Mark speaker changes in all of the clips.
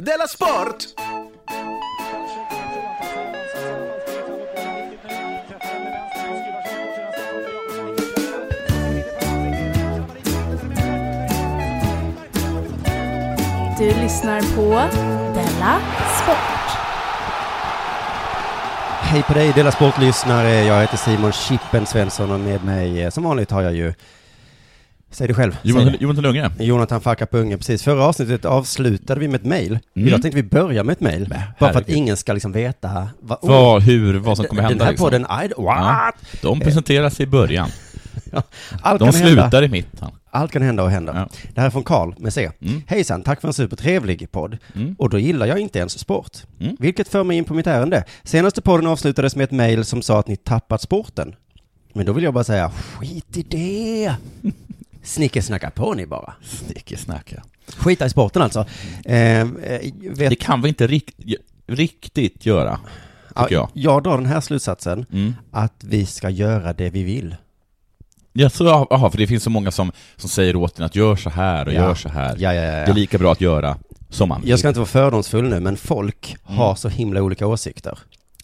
Speaker 1: Della Sport!
Speaker 2: Du lyssnar på Della Sport.
Speaker 3: Hej på dig, Dela Sport-lyssnare. Jag heter Simon Chippen Svensson och med mig, eh, som vanligt, har jag ju... Säg det själv.
Speaker 4: Jonathan-
Speaker 3: Säg det.
Speaker 4: Jonathan Lundgren.
Speaker 3: Jonathan Facka på Ungern, precis. Förra avsnittet avslutade vi med ett mejl. Idag tänkte vi börja med ett mejl. Bara för att
Speaker 4: Mm. herregud.
Speaker 3: ingen ska liksom veta vad...
Speaker 4: Vad, hur, vad som kommer
Speaker 3: den,
Speaker 4: hända. liksom.
Speaker 3: Den här podden, I, don't- what?
Speaker 4: De presenteras i början.
Speaker 3: Allt
Speaker 4: De
Speaker 3: kan hända.
Speaker 4: slutar i mitten.
Speaker 3: Allt kan hända och hända. Det här är från Karl med C.
Speaker 4: Mm.
Speaker 3: Hejsan, tack för en supertrevlig podd. Och då gillar jag inte ens sport.
Speaker 4: Mm.
Speaker 3: Vilket för mig in på mitt ärende. Senaste podden avslutades med ett mejl som sa att ni tappat sporten. Men då vill jag bara säga, skit i det. Snickersnacka på ni bara.
Speaker 4: Snickesnacka.
Speaker 3: Skita i sporten alltså. Eh, eh, vet,
Speaker 4: Det kan vi inte rikt, riktigt göra, tycker jag. Mm.
Speaker 3: ja, jag drar den här slutsatsen, att vi ska göra det vi vill.
Speaker 4: Ja, så, aha, för det finns så många som, som säger åt en att gör så här och
Speaker 3: Ja.
Speaker 4: gör så här.
Speaker 3: Ja, ja, ja, ja.
Speaker 4: Det är lika bra att göra som man
Speaker 3: Jag ska inte vara fördomsfull nu, men folk
Speaker 4: Mm.
Speaker 3: har så himla olika åsikter.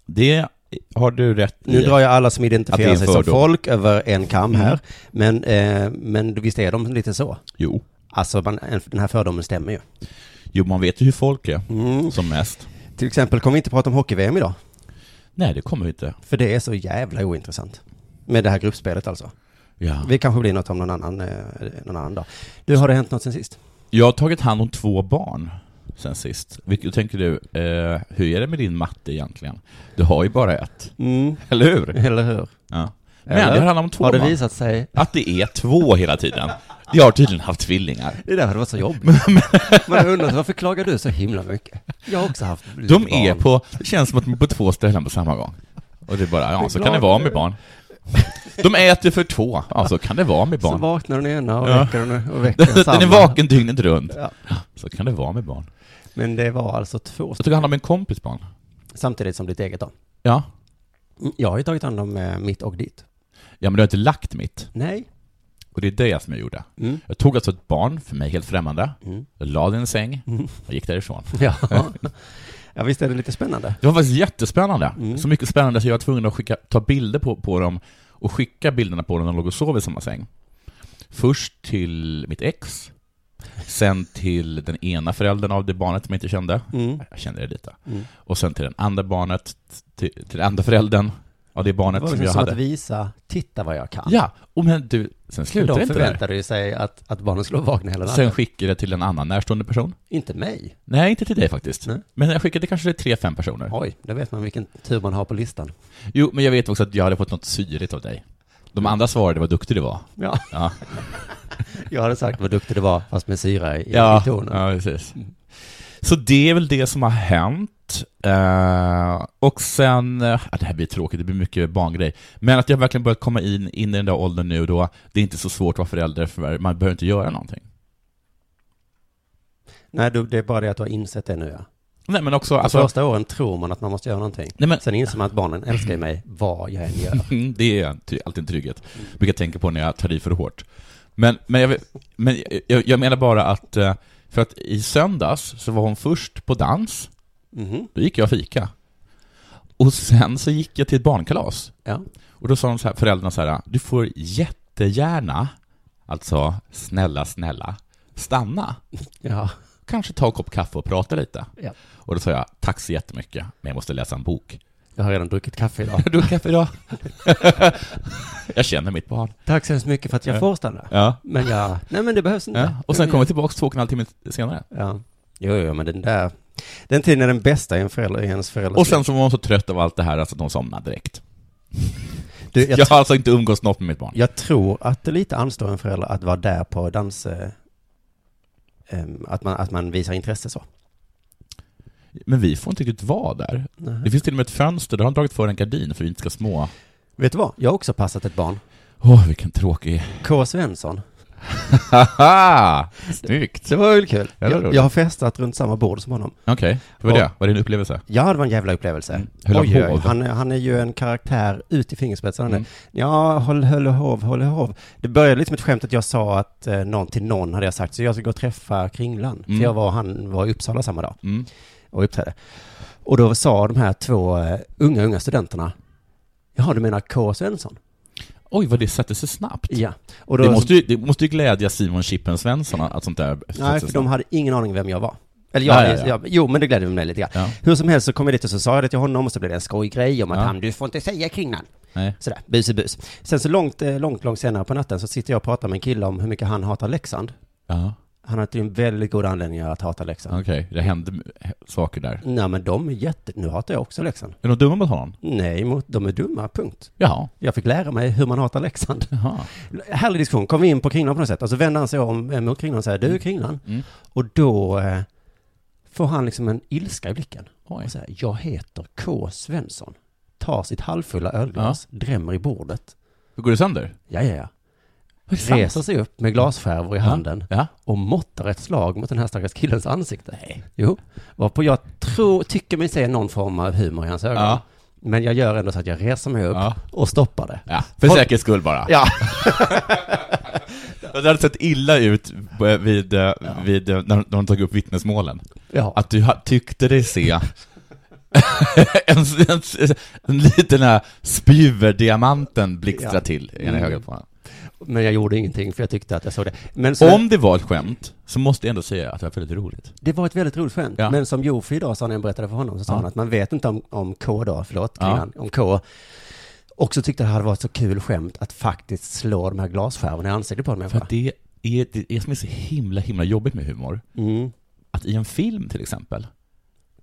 Speaker 4: Det har du rätt
Speaker 3: Nu
Speaker 4: i.
Speaker 3: drar jag alla som
Speaker 4: Att det är
Speaker 3: identifierar
Speaker 4: en
Speaker 3: sig som
Speaker 4: fördom.
Speaker 3: folk över en kam här, men, eh, men visst är de lite så?
Speaker 4: Jo.
Speaker 3: Alltså man, en- den här fördomen stämmer ju.
Speaker 4: jo, man vet ju hur folk är
Speaker 3: Mm.
Speaker 4: som mest.
Speaker 3: Till exempel kommer vi inte prata om hockey-VM idag,
Speaker 4: Nej, det kommer vi inte.
Speaker 3: för det är så jävla ointressant. Med det här gruppspelet alltså.
Speaker 4: Ja.
Speaker 3: Vi kanske blir något om någon annan, eh, någon annan dag. Du, har det hänt något sen sist?
Speaker 4: Jag har tagit hand om två barn sen sist. Vilket tänker du, eh, hur är det med din matte egentligen? Du har ju bara ett,
Speaker 3: Mm.
Speaker 4: eller hur?
Speaker 3: Eller hur?
Speaker 4: Ja. Men
Speaker 3: Eller?
Speaker 4: det handlar om två
Speaker 3: Har det
Speaker 4: barn.
Speaker 3: visat sig?
Speaker 4: Att det är två hela tiden. Jag har tydligen haft tvillingar.
Speaker 3: Det där hade varit så jobbigt. Man undrar varför klagar du så himla mycket? Jag har också haft lite
Speaker 4: De är
Speaker 3: barn.
Speaker 4: på, det känns som att de är på två ställen på samma gång. Och det är bara, ja så kan det vara med barn. De äter för två, ja så kan det vara med
Speaker 3: Så
Speaker 4: barn.
Speaker 3: vaknar den ena och
Speaker 4: Ja.
Speaker 3: väcker den, och väcker den
Speaker 4: Den är
Speaker 3: samma.
Speaker 4: vaken dygnet runt.
Speaker 3: Ja.
Speaker 4: Så kan det vara med barn.
Speaker 3: Men det var alltså två
Speaker 4: Jag tog hand om en kompis barn.
Speaker 3: Samtidigt som ditt eget då?
Speaker 4: Ja.
Speaker 3: Mm, Jag har ju tagit hand om eh, mitt och ditt.
Speaker 4: Ja men du har inte lagt mitt.
Speaker 3: Nej.
Speaker 4: Och det är det som jag gjorde.
Speaker 3: Mm.
Speaker 4: Jag tog alltså ett barn, för mig helt främmande,
Speaker 3: Mm.
Speaker 4: jag la det i en säng och gick därifrån.
Speaker 3: Ja. ja, visst är det lite spännande?
Speaker 4: Det var faktiskt jättespännande.
Speaker 3: Mm.
Speaker 4: Så mycket spännande så jag var tvungen att skicka, ta bilder på, på dem och skicka bilderna på dem när de låg och sov i samma säng. Först till mitt ex, sen till den ena föräldern av det barnet som jag inte kände.
Speaker 3: Mm.
Speaker 4: Jag kände det lite.
Speaker 3: Mm.
Speaker 4: Och sen till den andra barnet, till, till den andra föräldern av det
Speaker 3: Det
Speaker 4: barnet
Speaker 3: var
Speaker 4: som
Speaker 3: liksom
Speaker 4: jag
Speaker 3: som
Speaker 4: hade.
Speaker 3: att visa, titta vad jag kan.
Speaker 4: Ja, och men du, sen
Speaker 3: För
Speaker 4: slutade
Speaker 3: de
Speaker 4: det inte där.
Speaker 3: förväntade ju sig att, att barnen skulle vakna hela natten.
Speaker 4: Sen skickade jag det till en annan närstående person.
Speaker 3: Inte mig.
Speaker 4: Nej, inte till dig faktiskt.
Speaker 3: Nej.
Speaker 4: Men jag skickade kanske till tre, fem personer.
Speaker 3: Oj, då vet man vilken tur man har på listan.
Speaker 4: Jo, men jag vet också att jag hade fått något syrigt av dig. De andra svarade vad duktig du var.
Speaker 3: Ja.
Speaker 4: Ja,
Speaker 3: Jag hade sagt vad duktig du var, fast med syra i,
Speaker 4: ja,
Speaker 3: i tonen.
Speaker 4: ja precis. Så det är väl det som har hänt. Eh, och sen, eh, ja, det här blir tråkigt, det blir mycket barngrej. Men att jag verkligen börjat komma in, in i den där åldern nu då, det är inte så svårt att vara förälder, för man behöver inte göra någonting.
Speaker 3: Nej, du, det är bara det att du har insett det nu ja.
Speaker 4: Nej men också,
Speaker 3: Alltså,
Speaker 4: alltså,
Speaker 3: första åren tror man att man måste göra någonting.
Speaker 4: Nej, men-
Speaker 3: Sen inser man att barnen älskar mig vad jag än gör.
Speaker 4: Mm, det är en ty- alltid en trygghet. Vilket jag tänker på när jag tar i för hårt. Men, men, jag, vill- men jag, jag menar bara att, eh, för att i söndags så var hon först på dans,
Speaker 3: Mhm.
Speaker 4: då gick jag och fika. Och sen så gick jag till ett barnkalas.
Speaker 3: Ja.
Speaker 4: Och då sa de så här, föräldrarna så här, du får jättegärna, alltså snälla, snälla, stanna,
Speaker 3: Ja.
Speaker 4: kanske ta en kopp kaffe och prata lite.
Speaker 3: Ja.
Speaker 4: Och då sa jag, tack så jättemycket, men jag måste läsa en bok.
Speaker 3: Jag har redan druckit kaffe idag.
Speaker 4: Har du kaffe idag? jag känner mitt barn.
Speaker 3: Tack så hemskt mycket för att jag får stanna.
Speaker 4: Ja.
Speaker 3: Men jag, nej men det behövs inte.
Speaker 4: Ja. Och sen kommer vi tillbaka två och en halv timme senare.
Speaker 3: Ja. Jo, jo, men den där, den tiden är den bästa i en förälder, i ens förälders
Speaker 4: Och sen
Speaker 3: liv.
Speaker 4: så var hon så trött av allt det här alltså, att hon somnade direkt.
Speaker 3: du,
Speaker 4: Jag,
Speaker 3: jag,
Speaker 4: har alltså inte umgåtts något med mitt barn.
Speaker 3: jag tror att det lite anstår en förälder att vara där på dans, eh, em, att, man, att man visar intresse så.
Speaker 4: Men vi får inte riktigt vara där.
Speaker 3: Nej.
Speaker 4: Det finns till och med ett fönster, där har de dragit för en gardin för vi inte ska små.
Speaker 3: Vet du vad? Jag har också passat ett barn.
Speaker 4: Åh, vilken tråkig...
Speaker 3: K. Svensson.
Speaker 4: Haha! Snyggt!
Speaker 3: Det var väl kul.
Speaker 4: Ja, det var
Speaker 3: Jag,
Speaker 4: roligt.
Speaker 3: jag har festat runt samma bord som honom.
Speaker 4: Okej, hur var
Speaker 3: Ja.
Speaker 4: det? Var det en upplevelse?
Speaker 3: Ja, det var en jävla upplevelse.
Speaker 4: Mm. Höll han hov?
Speaker 3: han, är- han är ju en karaktär ut i fingerspetsarna
Speaker 4: Mm.
Speaker 3: nu. Ja, håll, höll och hov, håll och hov. Det började lite med ett skämt att jag sa att eh, någon till någon hade jag sagt, så jag ska gå och träffa Kringland.
Speaker 4: Mm.
Speaker 3: För jag var, och han var i Uppsala samma dag
Speaker 4: Mm.
Speaker 3: och uppträdde. Och då sa de här två eh, unga, unga studenterna, jaha, du menar K. Svensson?
Speaker 4: Oj, vad det satte sig snabbt.
Speaker 3: Ja. Och då,
Speaker 4: Det måste, ju, det måste ju glädja Simon Chippen Svensson att sånt där...
Speaker 3: Nej, för de hade ingen aning om vem jag var. Eller jag,
Speaker 4: Ja, ja, ja.
Speaker 3: jag jo men det glädde mig lite grann.
Speaker 4: Ja.
Speaker 3: Hur som helst så kom jag dit och så sa jag det till honom och så blev det en skojgrej om att
Speaker 4: Ja.
Speaker 3: han, du får inte säga Kringland.
Speaker 4: Nej.
Speaker 3: Sådär, bus i bus. Sen så långt, eh, långt, långt senare på natten så sitter jag och pratar med en kille om hur mycket han hatar Leksand.
Speaker 4: Ja,
Speaker 3: Han har tydligen väldigt god anledning att hata Leksand.
Speaker 4: okej. Det hände m- saker där.
Speaker 3: Nej men de är jätte, nu hatar jag också Leksand.
Speaker 4: Är de dumma mot honom?
Speaker 3: Nej, mot- de är dumma, punkt.
Speaker 4: Jaha.
Speaker 3: Jag fick lära mig hur man hatar Leksand.
Speaker 4: Jaha.
Speaker 3: Härlig diskussion, kom vi in på Kringlan på något sätt. Och så vänder han sig om eh, mot Kringlan och säger, du Kringlan.
Speaker 4: Mm.
Speaker 3: Och då eh, får han liksom en ilska i blicken.
Speaker 4: Oj.
Speaker 3: Och så här, jag heter K. Svensson. Tar sitt halvfulla ölglas, drämmer i bordet.
Speaker 4: Går det sönder?
Speaker 3: Ja, ja, ja.
Speaker 4: sant?
Speaker 3: Reser sig upp med glasskärvor i handen
Speaker 4: Ja.
Speaker 3: och måttar ett slag mot den här stackars killens ansikte. Jo, varpå jag tror, tycker mig se någon form av humor i hans ögon.
Speaker 4: Ja.
Speaker 3: Men jag gör ändå så att jag reser mig upp
Speaker 4: Ja.
Speaker 3: och stoppar det.
Speaker 4: ja. För säkerhets skull bara.
Speaker 3: Ja.
Speaker 4: Det hade sett illa ut eh, vid, eh, vid, eh, när de- när de tog upp vittnesmålen.
Speaker 3: Ja.
Speaker 4: Att du ha- tyckte dig se en, en, en liten här spjuverdiamanten blixtra
Speaker 3: Ja.
Speaker 4: till i ena
Speaker 3: Mm.
Speaker 4: ögat på honom.
Speaker 3: Men jag gjorde ingenting för jag tyckte att jag såg det. Men så,
Speaker 4: Om det var ett skämt, så måste jag ändå säga att det var väldigt roligt.
Speaker 3: det var ett väldigt roligt skämt.
Speaker 4: Ja.
Speaker 3: Men som Jofi idag sa när jag berättade för honom så sa
Speaker 4: Ja.
Speaker 3: han att man vet inte om, om K då, förlåt,
Speaker 4: Ja.
Speaker 3: kvinnan, om K. Också tyckte det hade varit så kul skämt att faktiskt slå de här glasskärvorna i ansiktet på dem.
Speaker 4: För att det är det är som är så himla, himla jobbigt med humor,
Speaker 3: Mm.
Speaker 4: att i en film till exempel,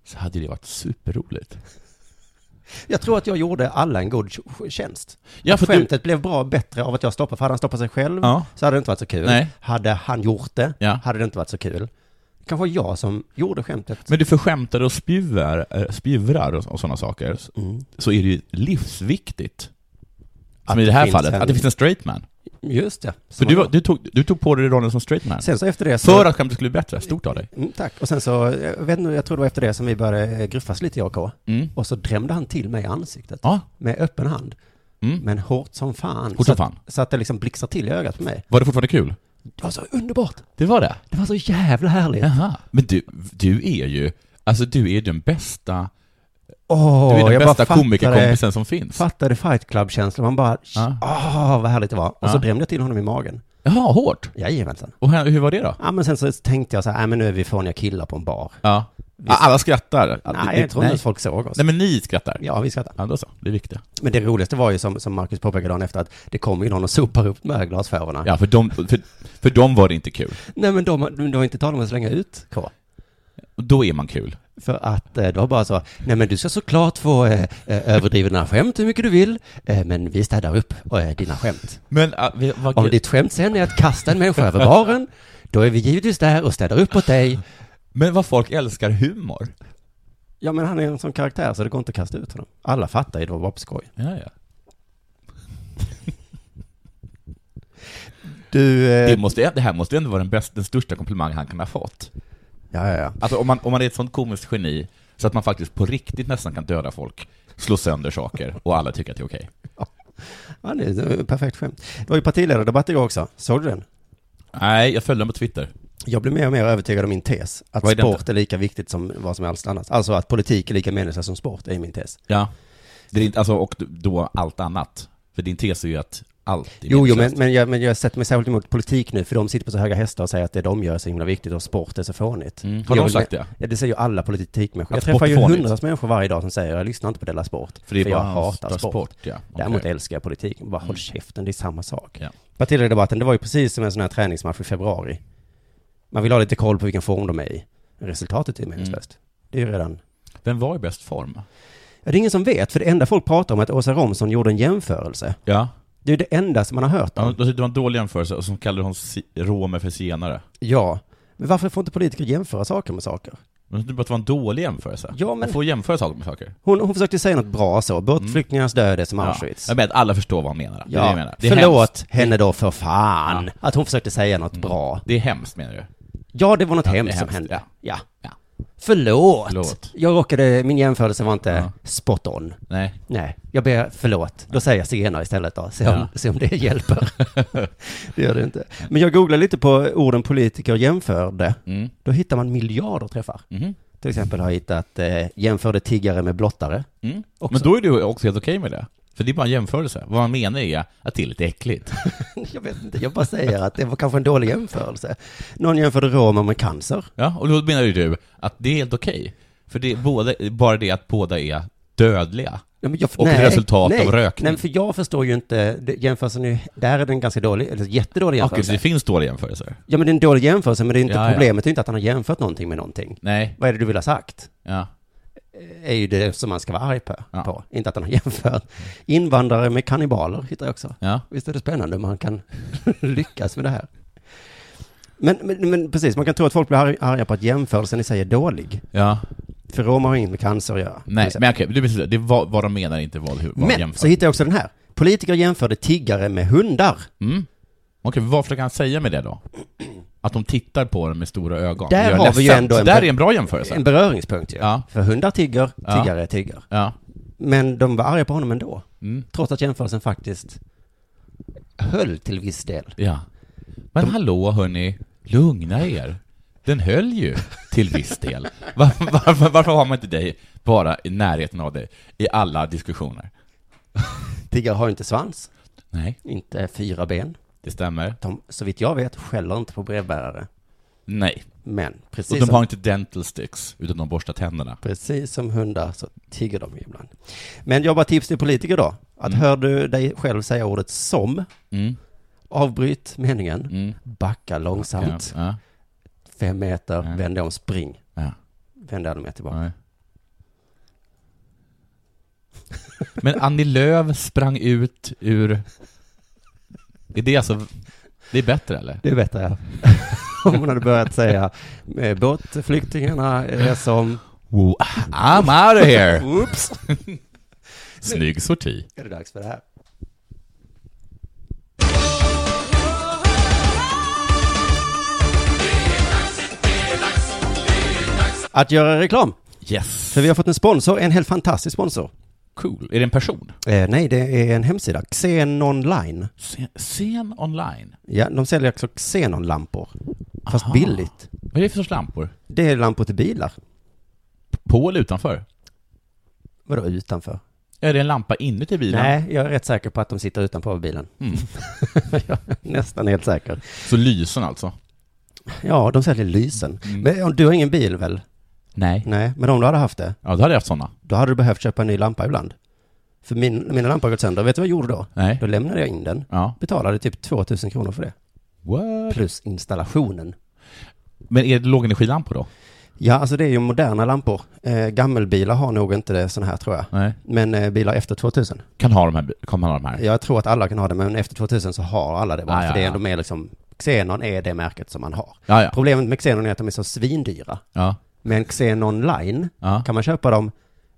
Speaker 4: så hade det varit superroligt.
Speaker 3: Jag tror att jag gjorde alla en god tj- tjänst.
Speaker 4: Ja, för du,
Speaker 3: Skämtet blev bra och bättre av att jag stoppade, för hade han stoppat sig själv
Speaker 4: Ja.
Speaker 3: så hade det inte varit så kul.
Speaker 4: Nej.
Speaker 3: Hade han gjort det
Speaker 4: Ja.
Speaker 3: hade det inte varit så kul. Kanske var jag som gjorde skämtet.
Speaker 4: men du förskämtar och spjuver, eh, spjuvrar och, och sådana saker, så-
Speaker 3: Mm.
Speaker 4: så är det ju livsviktigt, som
Speaker 3: Att
Speaker 4: i det här
Speaker 3: finns
Speaker 4: fallet,
Speaker 3: en-
Speaker 4: att det finns en straight man.
Speaker 3: Just det.
Speaker 4: För
Speaker 3: Som
Speaker 4: du,
Speaker 3: jag
Speaker 4: var- du, tog, du tog på dig rollen som straight man.
Speaker 3: Sen så efter det så...
Speaker 4: För att skämtet skulle bli bättre. Stort av dig.
Speaker 3: Mm, tack. Och sen så, jag vet inte, jag tror det var efter det som vi började eh, gruffas lite jag och K.
Speaker 4: Mm.
Speaker 3: Och så drämde han till mig i ansiktet.
Speaker 4: Ja.
Speaker 3: Med öppen hand.
Speaker 4: Mm.
Speaker 3: Men hårt som fan.
Speaker 4: Hårt
Speaker 3: så,
Speaker 4: som
Speaker 3: att-
Speaker 4: fan.
Speaker 3: så att det liksom blixtrar till i ögat på mig.
Speaker 4: Var det fortfarande kul?
Speaker 3: Det var så underbart.
Speaker 4: Det var det.
Speaker 3: Det var så jävla härligt.
Speaker 4: Jaha. Men du, du är ju, alltså du är den bästa,
Speaker 3: Åh,
Speaker 4: du är den
Speaker 3: jag
Speaker 4: bästa
Speaker 3: bara fattade-
Speaker 4: komikerkompisen som finns.
Speaker 3: Fattade Fight Club-känslan. Man bara,
Speaker 4: Ja.
Speaker 3: åh, vad härligt det var. Och så
Speaker 4: Ja.
Speaker 3: drämde jag till honom i magen.
Speaker 4: Jaha, hårt.
Speaker 3: Jajamensan.
Speaker 4: Och hur, hur var det då?
Speaker 3: Ja, men sen så tänkte jag så här, nej men nu är vi fåniga killar på en bar.
Speaker 4: Ja. Alla skrattar. Ja, det-
Speaker 3: nej,
Speaker 4: det-
Speaker 3: jag tror inte ens folk såg oss.
Speaker 4: Nej, men ni skrattar.
Speaker 3: Ja, vi skrattar.
Speaker 4: Ja, då så. Det är viktigt.
Speaker 3: Men det roligaste var ju som, som Marcus påpekade dagen efter att det kom ju någon och sopar upp de här glasskärvorna.
Speaker 4: Ja, för dem, för, för dem var det inte kul.
Speaker 3: Nej men de, de var inte tal om att slänga ut K.
Speaker 4: Och Då är man kul.
Speaker 3: För att eh, det var bara så, nej men du ska såklart få eh, eh, överdriva dina skämt hur mycket du vill, eh, men vi städar upp eh, dina skämt.
Speaker 4: Men, äh, vi- vad
Speaker 3: Om ditt skämt sen är att kasta en människa över baren, då är vi givetvis där och städar upp åt dig.
Speaker 4: men vad folk älskar humor.
Speaker 3: Ja men han är en sån karaktär så det går inte att kasta ut honom. Alla fattar ju, det var bara på skoj.
Speaker 4: Ja, ja.
Speaker 3: Du, eh,
Speaker 4: Det, måste, det här måste ändå vara den, bäst, den största komplimang han kan ha fått.
Speaker 3: ja ja ja.
Speaker 4: Alltså om man, om man är ett sånt komiskt geni så att man faktiskt på riktigt nästan kan döda folk, slå sönder saker och alla tycker att det är okej.
Speaker 3: ja det är ett perfekt skämt. Det var ju partiledardebatt igår också, såg du den?
Speaker 4: Nej, jag följde dem på Twitter.
Speaker 3: Jag blir mer och mer övertygad om min tes, att
Speaker 4: Vad är den då?
Speaker 3: sport är lika viktigt som vad som helst annat. Alltså att politik är lika meningslöst som sport, är min tes.
Speaker 4: Ja. Det är inte, alltså, och då allt annat. För din tes är ju att alltid
Speaker 3: Jo, jo men,
Speaker 4: meningslöst.
Speaker 3: men, jag, men jag sätter mig särskilt emot politik nu, för de sitter på så höga hästar och säger att det de gör är så himla viktigt och sport är så fånigt.
Speaker 4: Mm.
Speaker 3: Jag
Speaker 4: Har de
Speaker 3: vill-
Speaker 4: sagt det?
Speaker 3: Ja, det säger ju alla politikmänniskor.
Speaker 4: Att
Speaker 3: Jag
Speaker 4: sport
Speaker 3: träffar
Speaker 4: är
Speaker 3: ju
Speaker 4: fånigt.
Speaker 3: hundratals människor varje dag som säger jag lyssnar inte på Della Sport,
Speaker 4: För det är
Speaker 3: jag
Speaker 4: bara
Speaker 3: hatar
Speaker 4: sport,
Speaker 3: sport.
Speaker 4: ja. Okej. Mm.
Speaker 3: Däremot älskar jag politik. Bara håll käften, det är samma sak.
Speaker 4: Ja.
Speaker 3: Partiledardebatten, det var ju precis som en sån här träningsmatch i februari. Man vill ha lite koll på vilken form de är i. Resultatet är meningslöst.
Speaker 4: Mm.
Speaker 3: Det är ju redan
Speaker 4: Vem var i bäst form?
Speaker 3: Ja, det är ingen som vet, för det enda folk pratar om är att Åsa Romson gjorde en jämförelse.
Speaker 4: Ja.
Speaker 3: Det är ju det enda som man har hört
Speaker 4: ja
Speaker 3: om.
Speaker 4: det var en dålig jämförelse, och så kallade hon si- romer för zigenare.
Speaker 3: Ja. Men varför får inte politiker jämföra saker med saker?
Speaker 4: Men du bara att det var en dålig jämförelse?
Speaker 3: Ja, men-
Speaker 4: Man får jämföra saker med saker.
Speaker 3: Hon, hon försökte säga något bra så. Båtflyktingarnas död är som
Speaker 4: Ja.
Speaker 3: Auschwitz.
Speaker 4: Jag menar att alla förstår vad hon menar. Det är det jag menar. Det är
Speaker 3: Förlåt
Speaker 4: Hemskt.
Speaker 3: henne då för fan.
Speaker 4: Ja.
Speaker 3: Att hon försökte säga något bra.
Speaker 4: Det är hemskt menar du?
Speaker 3: Ja, det var något
Speaker 4: Ja, det är
Speaker 3: hemskt som
Speaker 4: hemskt.
Speaker 3: hände. Ja.
Speaker 4: Ja.
Speaker 3: ja.
Speaker 4: Ja.
Speaker 3: Förlåt.
Speaker 4: Förlåt.
Speaker 3: Jag råkade, min jämförelse var inte spot on.
Speaker 4: Nej.
Speaker 3: Nej, jag ber förlåt. Då säger jag zigenare istället då. Se om,
Speaker 4: Ja.
Speaker 3: se om det hjälper. det gör det inte. Men jag googlar lite på orden politiker jämförde.
Speaker 4: Mm.
Speaker 3: Då hittar man miljarder träffar.
Speaker 4: Mhm.
Speaker 3: Till exempel har jag hittat eh, jämförde tiggare med blottare.
Speaker 4: Mm.
Speaker 3: Också.
Speaker 4: Men då är du också helt okej med det. För det är bara en jämförelse. Vad man menar är att det är lite äckligt.
Speaker 3: jag vet inte, jag bara säger att det var kanske en dålig jämförelse. Någon jämförde romer med cancer.
Speaker 4: Ja, och då menar ju du att det är helt okej. För det är båda, bara det att båda är dödliga.
Speaker 3: Ja, men jag,
Speaker 4: Och resultat
Speaker 3: nej,
Speaker 4: av rökning.
Speaker 3: Nej, för jag förstår ju inte, det- jämförelsen är, där är den ganska dålig, eller jättedålig
Speaker 4: Och
Speaker 3: jämförelse.
Speaker 4: det finns dåliga jämförelser.
Speaker 3: Ja men det är en dålig jämförelse, men det är inte,
Speaker 4: Ja, ja.
Speaker 3: problemet är inte att han har jämfört någonting med någonting.
Speaker 4: Nej.
Speaker 3: Vad är det du vill ha sagt?
Speaker 4: Ja.
Speaker 3: är ju det som man ska vara arg på.
Speaker 4: Ja.
Speaker 3: på. Inte att han har jämfört. Invandrare med kannibaler hittar jag också.
Speaker 4: Ja.
Speaker 3: Visst är det spännande om man kan lyckas med det här. Men, men, men precis, man kan tro att folk blir arg- arga på att jämförelsen i sig är dålig.
Speaker 4: Ja.
Speaker 3: För romer har inget med cancer att göra.
Speaker 4: Nej,
Speaker 3: Till exempel.
Speaker 4: men okej, det, är- det är vad, vad de menar, inte vad, hur, vad de
Speaker 3: men
Speaker 4: jämför.
Speaker 3: så hittade jag också den här. Politiker jämförde tiggare med hundar.
Speaker 4: Mm. Okej, vad försöker han säga med det då? Att de tittar på den med stora ögon.
Speaker 3: Där
Speaker 4: Det gör
Speaker 3: har vi ju
Speaker 4: ledsamt.
Speaker 3: ändå en-
Speaker 4: Så där är en bra jämförelse.
Speaker 3: En beröringspunkt ju.
Speaker 4: Ja.
Speaker 3: För hundar tigger,
Speaker 4: Ja.
Speaker 3: tiggare är tigger.
Speaker 4: Ja.
Speaker 3: Men de var arga på honom ändå.
Speaker 4: Mm.
Speaker 3: Trots att jämförelsen faktiskt höll till viss del.
Speaker 4: ja. Men hallå hörni, lugna er. Den höll ju till viss del. Var, varför, varför har man inte dig bara i närheten av dig i alla diskussioner?
Speaker 3: Tiggare har ju inte svans,
Speaker 4: Nej,
Speaker 3: inte fyra ben.
Speaker 4: det stämmer.
Speaker 3: De, så vitt jag vet, skäller inte på brevbärare.
Speaker 4: Nej.
Speaker 3: Men precis,
Speaker 4: Och de
Speaker 3: som,
Speaker 4: har inte dental sticks, utan de borstar tänderna.
Speaker 3: precis som hundar så tigger de ju ibland. Men jag har bara tips till politiker då. Att hör du dig själv säga ordet som,
Speaker 4: Mm.
Speaker 3: avbryt meningen,
Speaker 4: Mm.
Speaker 3: backa långsamt,
Speaker 4: Ja.
Speaker 3: fem meter,
Speaker 4: Ja.
Speaker 3: vänd om, spring.
Speaker 4: Ja.
Speaker 3: Vänd dig med tillbaka.
Speaker 4: Nej. Men Annie Lööf sprang ut ur... Är det alltså... Det är bättre eller?
Speaker 3: Det är bättre. Om hon hade börjat säga eh, båtflyktingarna är som...
Speaker 4: Wow, I'm out of here!
Speaker 3: Oops!
Speaker 4: Snygg sorti.
Speaker 3: Är det dags för det här? Att göra reklam.
Speaker 4: Yes.
Speaker 3: För vi har fått en sponsor, en helt fantastisk sponsor.
Speaker 4: Cool. Är det en person?
Speaker 3: Eh, nej, det är en hemsida, Xenonline.
Speaker 4: Scen, scen online?
Speaker 3: Ja, de säljer också Xenonlampor, fast billigt.
Speaker 4: Vad är det för sorts lampor?
Speaker 3: Det är lampor till bilar.
Speaker 4: På eller utanför?
Speaker 3: Vadå utanför?
Speaker 4: Är det en lampa inuti bilen?
Speaker 3: Nej, jag är rätt säker på att de sitter utanpå bilen.
Speaker 4: Mm.
Speaker 3: jag är nästan helt säker.
Speaker 4: Så lysen alltså?
Speaker 3: Ja, de säljer lysen. Men du har ingen bil väl?
Speaker 4: Nej.
Speaker 3: Nej, men om du hade haft det,
Speaker 4: Ja, då hade jag haft sådana.
Speaker 3: då hade du behövt köpa en ny lampa ibland. För min, mina lampor har gått sönder. Vet du vad jag gjorde då?
Speaker 4: Nej.
Speaker 3: Då lämnade jag in den.
Speaker 4: Ja.
Speaker 3: Betalade typ 2000 kronor för det.
Speaker 4: What?
Speaker 3: Plus installationen.
Speaker 4: Men är det lågenergilampor då?
Speaker 3: Ja, alltså det är ju moderna lampor. Eh, gammelbilar har nog inte sådana här tror jag.
Speaker 4: Nej.
Speaker 3: Men eh, bilar efter 2000.
Speaker 4: Kan ha de här, kan man ha de här?
Speaker 3: Jag tror att alla kan ha det, men efter 2000 så har alla det bara.
Speaker 4: Ah,
Speaker 3: för
Speaker 4: ja,
Speaker 3: det är
Speaker 4: ja.
Speaker 3: ändå mer liksom, Xenon är det märket som man har.
Speaker 4: Ja, ja.
Speaker 3: Problemet med Xenon är att de är så svindyra.
Speaker 4: Ja.
Speaker 3: Men Xenon Line
Speaker 4: Ja.
Speaker 3: kan man köpa dem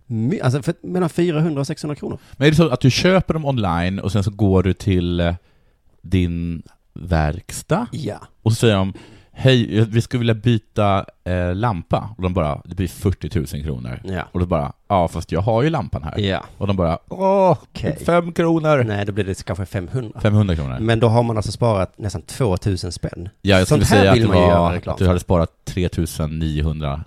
Speaker 3: my- alltså för mellan 400 och 600 kronor.
Speaker 4: Men är det så att du köper dem online och sen så går du till eh, din verkstad
Speaker 3: Ja.
Speaker 4: och så säger de Hej, vi skulle vilja byta eh, lampa. Och de bara, det blir 40 000 kronor.
Speaker 3: Ja.
Speaker 4: Och då bara, ja fast jag har ju lampan här.
Speaker 3: Ja.
Speaker 4: Och de bara, åh,
Speaker 3: Okej.
Speaker 4: fem kronor.
Speaker 3: Nej, då blir det kanske 500.
Speaker 4: 500 kronor.
Speaker 3: Men då har man alltså sparat nästan 2000 spänn.
Speaker 4: ja, jag skulle
Speaker 3: Sånt här
Speaker 4: säga att,
Speaker 3: vill
Speaker 4: det
Speaker 3: man ju göra
Speaker 4: var,
Speaker 3: reklam
Speaker 4: att du hade sparat 3900,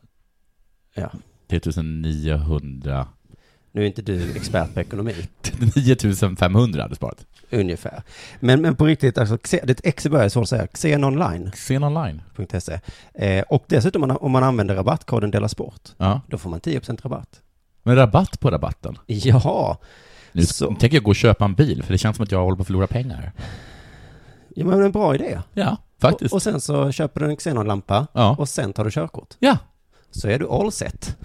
Speaker 3: Ja.
Speaker 4: 3900,
Speaker 3: Nu är inte du expert på ekonomi.
Speaker 4: 9500 hade du sparat.
Speaker 3: ungefär. Men, men på riktigt, alltså, Xe- det är ett X i början, så säger xenonline.se.
Speaker 4: Sen online.
Speaker 3: Eh, och dessutom om man, om man använder rabattkoden Della Sport,
Speaker 4: Ja.
Speaker 3: då får man 10% rabatt.
Speaker 4: Men rabatt på rabatten.
Speaker 3: Ja,
Speaker 4: Nu
Speaker 3: Så.
Speaker 4: tänker jag gå och köpa en bil, för det känns som att jag håller på att förlora pengar.
Speaker 3: ja men det är en bra idé.
Speaker 4: Ja, faktiskt.
Speaker 3: Och, och sen så köper du en xenonlampa
Speaker 4: Ja.
Speaker 3: och sen tar du körkort.
Speaker 4: ja,
Speaker 3: Så är du all set.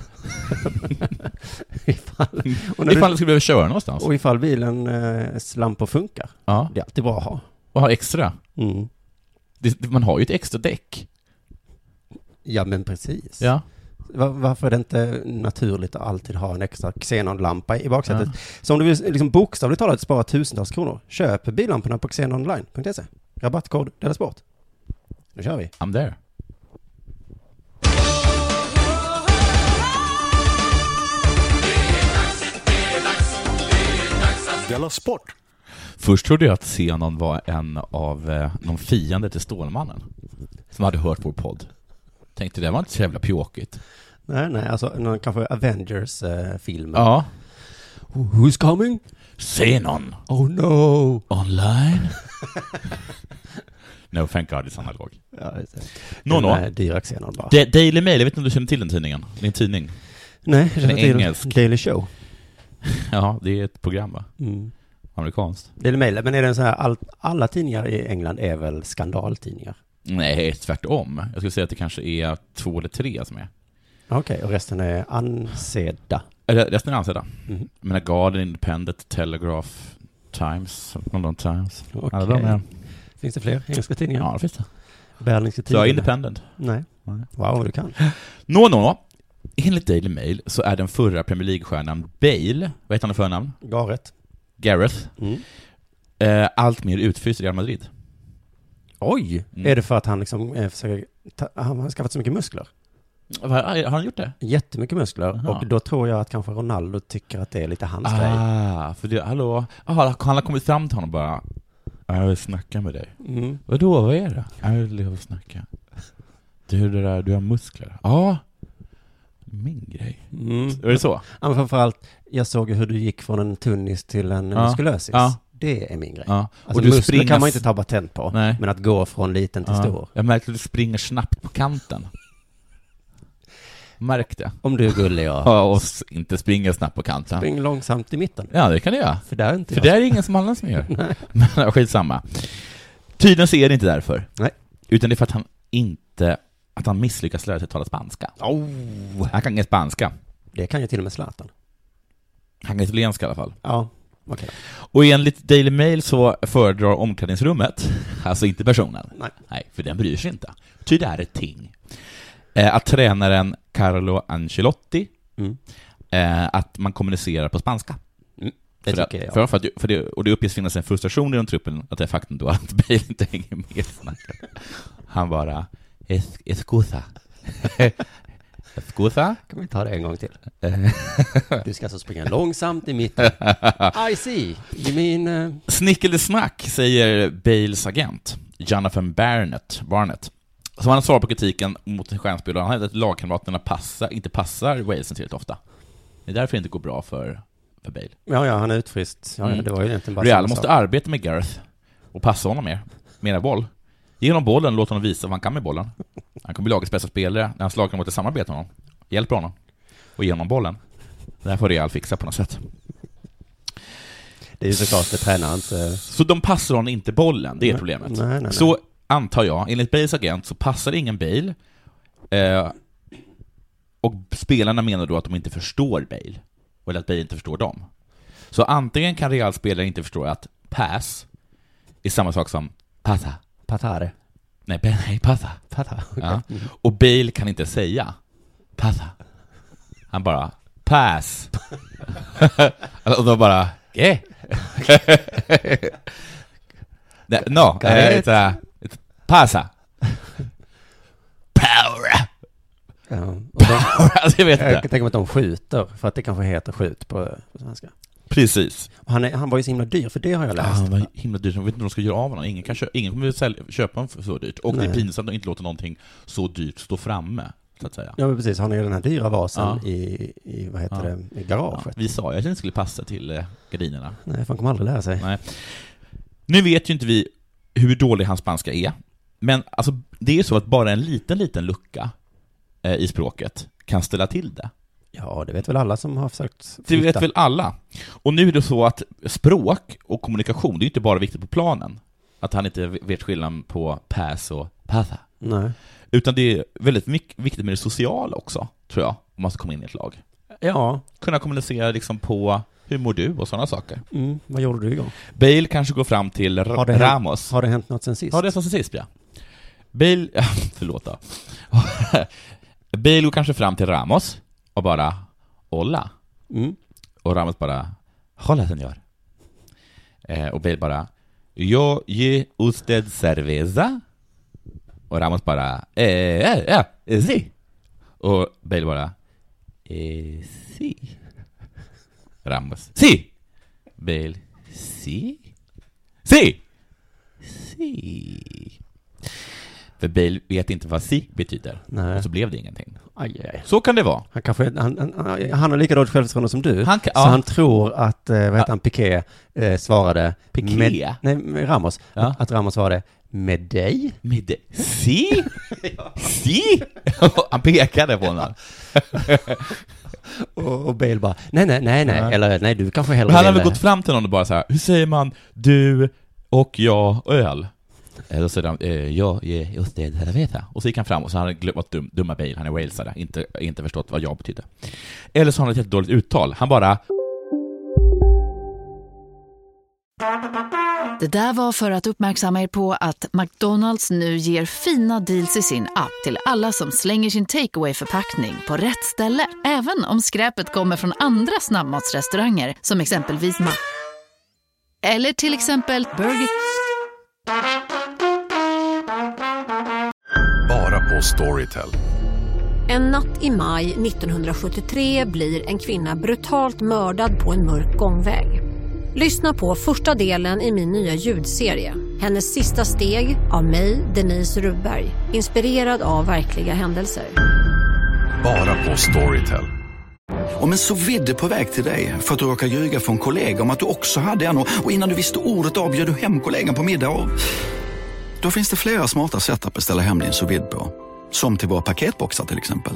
Speaker 3: ifall, och, när
Speaker 4: ifall du skulle behöva köra någonstans.
Speaker 3: du, och ifall bilen eh, lampor funkar.
Speaker 4: Ja.
Speaker 3: Det är alltid bra att ha.
Speaker 4: Och ha extra.
Speaker 3: Mm.
Speaker 4: Det, man har ju ett extra däck.
Speaker 3: Ja men precis.
Speaker 4: Ja.
Speaker 3: Va- Varför är det inte naturligt att alltid ha en extra xenonlampa i baksätet? Så om du vill liksom bokstavligt talat spara tusentals kronor, köp billamporna på xenonline.se. Rabattkod Della Sport. Nu kör vi.
Speaker 4: I'm there.
Speaker 5: Della Sport.
Speaker 4: Först trodde jag att Zenon var en av, eh, någon fiende till Stålmannen. Som hade hört vår podd. Tänkte det var inte så jävla pjåkigt.
Speaker 3: Nej, nej, alltså någon kanske Avengers-film.
Speaker 4: Ja.
Speaker 3: Who's coming?
Speaker 4: Zenon
Speaker 3: Oh no!
Speaker 4: online. no, thank God it's analog.
Speaker 3: Ja, just det.
Speaker 4: No, no.
Speaker 3: Den här dyra xenon bara.
Speaker 4: Da- Daily Mail, jag vet inte om du känner till den tidningen? Det är en tidning.
Speaker 3: nej, jag känner
Speaker 4: är
Speaker 3: till
Speaker 4: engelsk.
Speaker 3: Daily Show.
Speaker 4: Ja, det är ett program va?
Speaker 3: Mm.
Speaker 4: Amerikanskt?
Speaker 3: Daily Mail, men är det en sån här, all, alla tidningar i England är väl skandaltidningar?
Speaker 4: Nej, tvärtom. Jag skulle säga att det kanske är två eller tre som är.
Speaker 3: Okej, och resten är ansedda.
Speaker 4: Eller resten är ansedda.
Speaker 3: Mhm.
Speaker 4: Jag menar Guardian, Independent, Telegraph, Times, London Times.
Speaker 3: Okej.
Speaker 4: Alla de är.
Speaker 3: Finns det fler engelska tidningar?
Speaker 4: Ja, det finns det.
Speaker 3: Berlingske
Speaker 4: Så
Speaker 3: tidningar?
Speaker 4: Independent.
Speaker 3: Nej.
Speaker 4: Nej.
Speaker 3: Wow, vad du kan.
Speaker 4: Nå, nå, nå. Enligt Daily Mail så är den förra Premier League-stjärnan Bale, vad heter han i förnamn?
Speaker 3: Garet.
Speaker 4: Gareth,
Speaker 3: Mm.
Speaker 4: eh, allt mer utfryst i Real Madrid.
Speaker 3: Oj!
Speaker 4: Mm.
Speaker 3: Är det för att han liksom eh, försöker ta, han har skaffat så mycket muskler?
Speaker 4: Va- Har han gjort det?
Speaker 3: Jättemycket muskler.
Speaker 4: Aha.
Speaker 3: Och då tror jag att kanske Ronaldo tycker att det är lite hans grej.
Speaker 4: Ah, för det, hallå? Ah, han har kommit fram till honom bara. Jag vill snacka med dig.
Speaker 3: Mm.
Speaker 4: Vadå, vad är det? Jag vill leva och snacka. Du, det där, du har muskler. Ja. Ah, min grej.
Speaker 3: Mm.
Speaker 4: Är det så?
Speaker 3: Ja, men framförallt, jag såg ju hur du gick från en tunnis till en
Speaker 4: Ja.
Speaker 3: muskulösis.
Speaker 4: Ja.
Speaker 3: Det är min grej.
Speaker 4: Ja.
Speaker 3: Alltså, och du muskler
Speaker 4: springer-
Speaker 3: kan man inte ta patent på,
Speaker 4: Nej.
Speaker 3: men att gå från liten till
Speaker 4: Ja.
Speaker 3: stor.
Speaker 4: Jag märkte att du springer snabbt på kanten. Märk det.
Speaker 3: Om du är gullig, ja.
Speaker 4: Ja, och s- inte springa snabbt på kanten.
Speaker 3: Spring långsamt i mitten.
Speaker 4: Ja, det kan du göra.
Speaker 3: För där är inte
Speaker 4: För
Speaker 3: jag.
Speaker 4: det är ingen som annan som gör. Men skitsamma. Tydligen så är det inte därför.
Speaker 3: Nej.
Speaker 4: Utan det är för att han inte, att han misslyckas lära sig att tala spanska. Oh. Han kan ingen spanska.
Speaker 3: Det kan ju till och med Zlatan.
Speaker 4: Han kan italienska i alla fall.
Speaker 3: Ja, okej.
Speaker 4: Och enligt Daily Mail så föredrar omklädningsrummet, alltså inte personen.
Speaker 3: Nej.
Speaker 4: för den bryr sig inte. Ty det här är ett ting. Eh, att tränaren Carlo Ancelotti,
Speaker 3: Mm.
Speaker 4: eh, att man kommunicerar på spanska.
Speaker 3: Det
Speaker 4: för, att-
Speaker 3: tycker jag.
Speaker 4: För, för att, för det, och det uppges finnas en frustration i den truppen att det är faktum då att Bale inte hänger med i snacket. Han bara, "Es- excusa. excusa?
Speaker 3: Kan vi ta det en gång till?
Speaker 4: Eh,
Speaker 3: Du ska alltså springa långsamt i mitten. I see. You mean... eh,
Speaker 4: Snick eller snack, säger Bales agent, Jonathan Barnett, Barnett som han svarar på kritiken mot sin stjärnspelare. Han hävdar att lagkamraterna passar, inte passar Walesen tillräckligt ofta. Det är därför det inte går bra för, för Bale.
Speaker 3: Ja, ja, han är utfryst. Ja, ja,
Speaker 4: Mm.
Speaker 3: det var ju egentligen bara
Speaker 4: Real
Speaker 3: samma
Speaker 4: måste
Speaker 3: sak.
Speaker 4: arbeta med Gareth och passa honom mer. Mera boll. Ge honom bollen, låt honom visa vad han kan med bollen. Han kommer bli lagets bästa spelare när hans lagkamrater samarbetar med honom. Hjälp honom. Och ge honom bollen. Det här får Real fixa på något sätt.
Speaker 3: Det är ju såklart det tränar inte...
Speaker 4: Så de passar honom inte bollen, det är
Speaker 3: Nej,
Speaker 4: problemet.
Speaker 3: nej, nej, nej.
Speaker 4: Så antar jag, enligt Bales agent så passar ingen Bale. Eh, och spelarna menar då att de inte förstår Bale. Eller att Bale inte förstår dem. Så antingen kan Real spelare inte förstå att pass är samma sak som passa.
Speaker 3: Patare.
Speaker 4: Nej, Bale- nej passa.
Speaker 3: Patare.
Speaker 4: Ja.
Speaker 3: Mm.
Speaker 4: Och Bale kan inte säga passa. Han bara pass. och då bara yeah. Nej, no,
Speaker 3: Got
Speaker 4: eh,
Speaker 3: it.
Speaker 4: it's a, it's passa. Power.
Speaker 3: Ja. Och de,
Speaker 4: alltså, jag vet
Speaker 3: jag
Speaker 4: inte.
Speaker 3: kan tänka mig att de skjuter, för att det kanske heter skjut på, på svenska.
Speaker 4: Precis.
Speaker 3: Och Han, är, han var ju så himla dyr, för det har jag
Speaker 4: Ah,
Speaker 3: läst.
Speaker 4: han var himla dyr, jag vet inte vad de ska göra av honom. Ingen, kan köpa, ingen kommer sälja, köpa honom för så dyrt. Och det är
Speaker 3: Nej.
Speaker 4: pinsamt att inte låta någonting så dyrt stå framme, så att säga.
Speaker 3: Ja, men precis. Han är ju den här dyra vasen
Speaker 4: Ja.
Speaker 3: i, i, vad heter
Speaker 4: Ja.
Speaker 3: det, i
Speaker 4: Ja,
Speaker 3: garaget.
Speaker 4: vi sa ju att den skulle passa till eh, gardinerna.
Speaker 3: Nej, för han kommer aldrig lära sig.
Speaker 4: Nej. Nu vet ju inte vi hur dålig hans spanska är, men alltså, det är ju så att bara en liten, liten lucka eh, i språket kan ställa till det.
Speaker 3: Ja, det vet väl alla som har försökt
Speaker 4: Det
Speaker 3: flytta.
Speaker 4: vet väl alla. Och nu är det så att språk och kommunikation, det är ju inte bara viktigt på planen. Att han inte vet skillnaden på pass och passa.
Speaker 3: Nej.
Speaker 4: Utan det är väldigt mycket, viktigt med det sociala också, tror jag, om man ska komma in i ett lag.
Speaker 3: Ja.
Speaker 4: Kunna kommunicera liksom på hur mår du och sådana saker.
Speaker 3: Mm. Vad gjorde du igår?
Speaker 4: Bale kanske går fram till R-
Speaker 3: Har det hänt-
Speaker 4: Ramos.
Speaker 3: Har det hänt något sen sist?
Speaker 4: Ja, det sa sist ja. Bale, förlåt då. Bale går kanske fram till Ramos och bara ”Hola”
Speaker 3: Mm.
Speaker 4: och Ramos bara ”Hola señor”. Eh, och Bale bara ”Yo ye usted cerveza” och Ramos bara ”Eh, eh, eh, si” och Bale bara ”Eh, si” Ramos ”Si” Bale ”Si” ”Si” Si. För Bale vet inte vad si betyder.
Speaker 3: Nej.
Speaker 4: Och så blev det ingenting.
Speaker 3: Aj, aj, aj.
Speaker 4: Så kan det vara.
Speaker 3: Han kanske, han, han, han- han har lika dåligt självförtroende som du.
Speaker 4: Han kan-
Speaker 3: så
Speaker 4: ja.
Speaker 3: han tror att, eh, vad heter han, Piqué eh, svarade...
Speaker 4: Piqué?
Speaker 3: Med, nej, med Ramos.
Speaker 4: Ja.
Speaker 3: Att Ramos svarade med dig.
Speaker 4: Med det- si? Si? Han pekade på honom.
Speaker 3: Och, och Bale bara, nej, nej, nej, nej.
Speaker 4: Nej.
Speaker 3: Eller nej, du kanske hellre
Speaker 4: Men han hade
Speaker 3: ville-
Speaker 4: väl gått fram till någon och bara så här, hur säger man du och jag och öl? Eh, Då säger han, eh, jag ger just det, det veta. Och så gick han fram och så hade han glömt varit dum, dumma Bale, han är walesare, inte, inte förstått vad jag betyder. Eller så har han ett jättedåligt uttal, han bara
Speaker 1: Det där var för att uppmärksamma er på att McDonalds nu ger fina deals i sin app till alla som slänger sin takeaway förpackning på rätt ställe. Även om skräpet kommer från andra snabbmatsrestauranger som exempelvis Ma... Eller till exempel Burger...
Speaker 6: Bara på Storytel.
Speaker 7: En natt i maj 1973 blir en kvinna brutalt mördad på en mörk gångväg. Lyssna på första delen i min nya ljudserie. Hennes sista steg av mig, Denise Rubberg. Inspirerad av verkliga händelser.
Speaker 6: Bara på Storytel.
Speaker 8: Om en så vidde på väg till dig för att du råkar ljuga från kollega om att du också hade en och och innan du visste ordet av bjöd du hem kollegan på middag och... Då finns det flera smarta sätt att beställa hem din sous vide på. Som till våra paketboxar till exempel.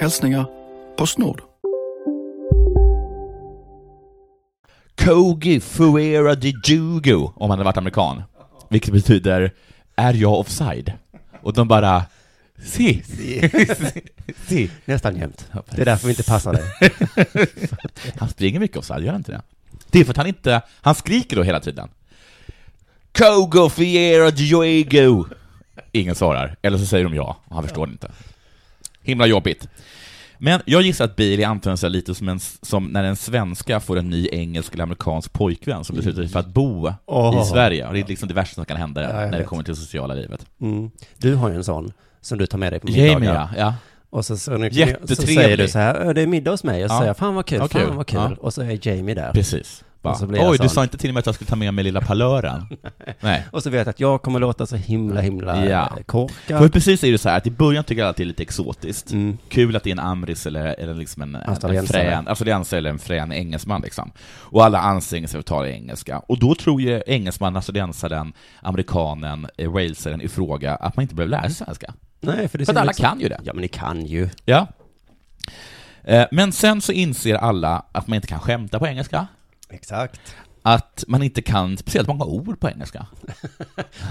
Speaker 8: Hälsningar Postnord.
Speaker 4: Kogi Fuera de Jugo om han hade varit amerikan. Vilket betyder är jag offside? Och de bara Si.
Speaker 3: Si.
Speaker 4: si.
Speaker 3: Nästan jämt. Det är därför vi inte passar dig.
Speaker 4: han springer mycket offside, gör han inte det? Det är för att han inte, han skriker då hela tiden. Kogo Fiera Juego. Ingen svarar, eller så säger de ja, och han förstår inte. Himla jobbigt. Men jag gissar att Bailey använder sig lite som, en, som när en svenska får en ny engelsk eller amerikansk pojkvän som beslutar sig för att bo
Speaker 3: Åh.
Speaker 4: i Sverige. Och det är liksom det värsta som kan hända
Speaker 3: Ja, jag
Speaker 4: när det
Speaker 3: vet.
Speaker 4: kommer till det sociala livet.
Speaker 3: Mm. Du har ju en sån som du tar med dig på middagar.
Speaker 4: Jamie, ja. ja.
Speaker 3: Och så, så, nu, så
Speaker 4: Jättetrevlig.
Speaker 3: säger du så här, "Ö, det är middag hos mig. Och så
Speaker 4: Ja.
Speaker 3: säger jag, fan vad kul,
Speaker 4: Ja,
Speaker 3: fan
Speaker 4: kul.
Speaker 3: vad kul.
Speaker 4: Ja.
Speaker 3: Och så är Jamie där.
Speaker 4: Precis. Bara,
Speaker 3: Och så blir jag
Speaker 4: Oj, du
Speaker 3: sån.
Speaker 4: sa inte till mig att jag skulle ta med mig lilla palören. Nej.
Speaker 3: Och så vet jag att jag kommer låta så himla, himla eh,
Speaker 4: Ja.
Speaker 3: ja. korkad.
Speaker 4: För precis är det så här att i början tycker alla att det är lite exotiskt. Kul att det är en amris eller, eller liksom en, en
Speaker 3: Australiensare.
Speaker 4: frän, australiensare eller en frän engelsman liksom. Och alla anstränger sig för att tala engelska. Och då tror ju engelsmannen, australiensaren, amerikanen, eh, walesaren i fråga att man inte behöver lära sig svenska.
Speaker 3: Nej, för det
Speaker 4: För att
Speaker 3: ser
Speaker 4: alla
Speaker 3: liksom-
Speaker 4: kan ju det.
Speaker 3: Ja, men ni kan ju.
Speaker 4: Ja. Eh, Men sen så inser alla att man inte kan skämta på engelska.
Speaker 3: Exakt.
Speaker 4: Att man inte kan speciellt många ord på engelska.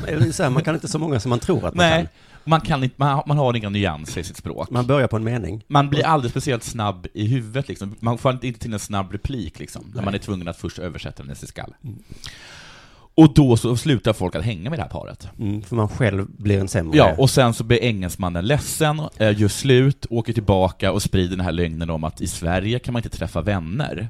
Speaker 3: Eller så här, man kan inte så många som man tror att man
Speaker 4: Nej,
Speaker 3: kan.
Speaker 4: man, kan inte, man, har- man har inga nyanser i sitt språk.
Speaker 3: Man börjar på en mening.
Speaker 4: Man blir aldrig speciellt snabb i huvudet, liksom. man får inte till en snabb replik liksom, när man är tvungen att först översätta den i sin skalle.
Speaker 3: Mm.
Speaker 4: Och då så slutar folk att hänga med det här paret.
Speaker 3: Mm, för man själv blir en sämre.
Speaker 4: Ja, och sen så blir engelsmannen ledsen, eh, gör slut, åker tillbaka och sprider den här lögnen om att i Sverige kan man inte träffa vänner.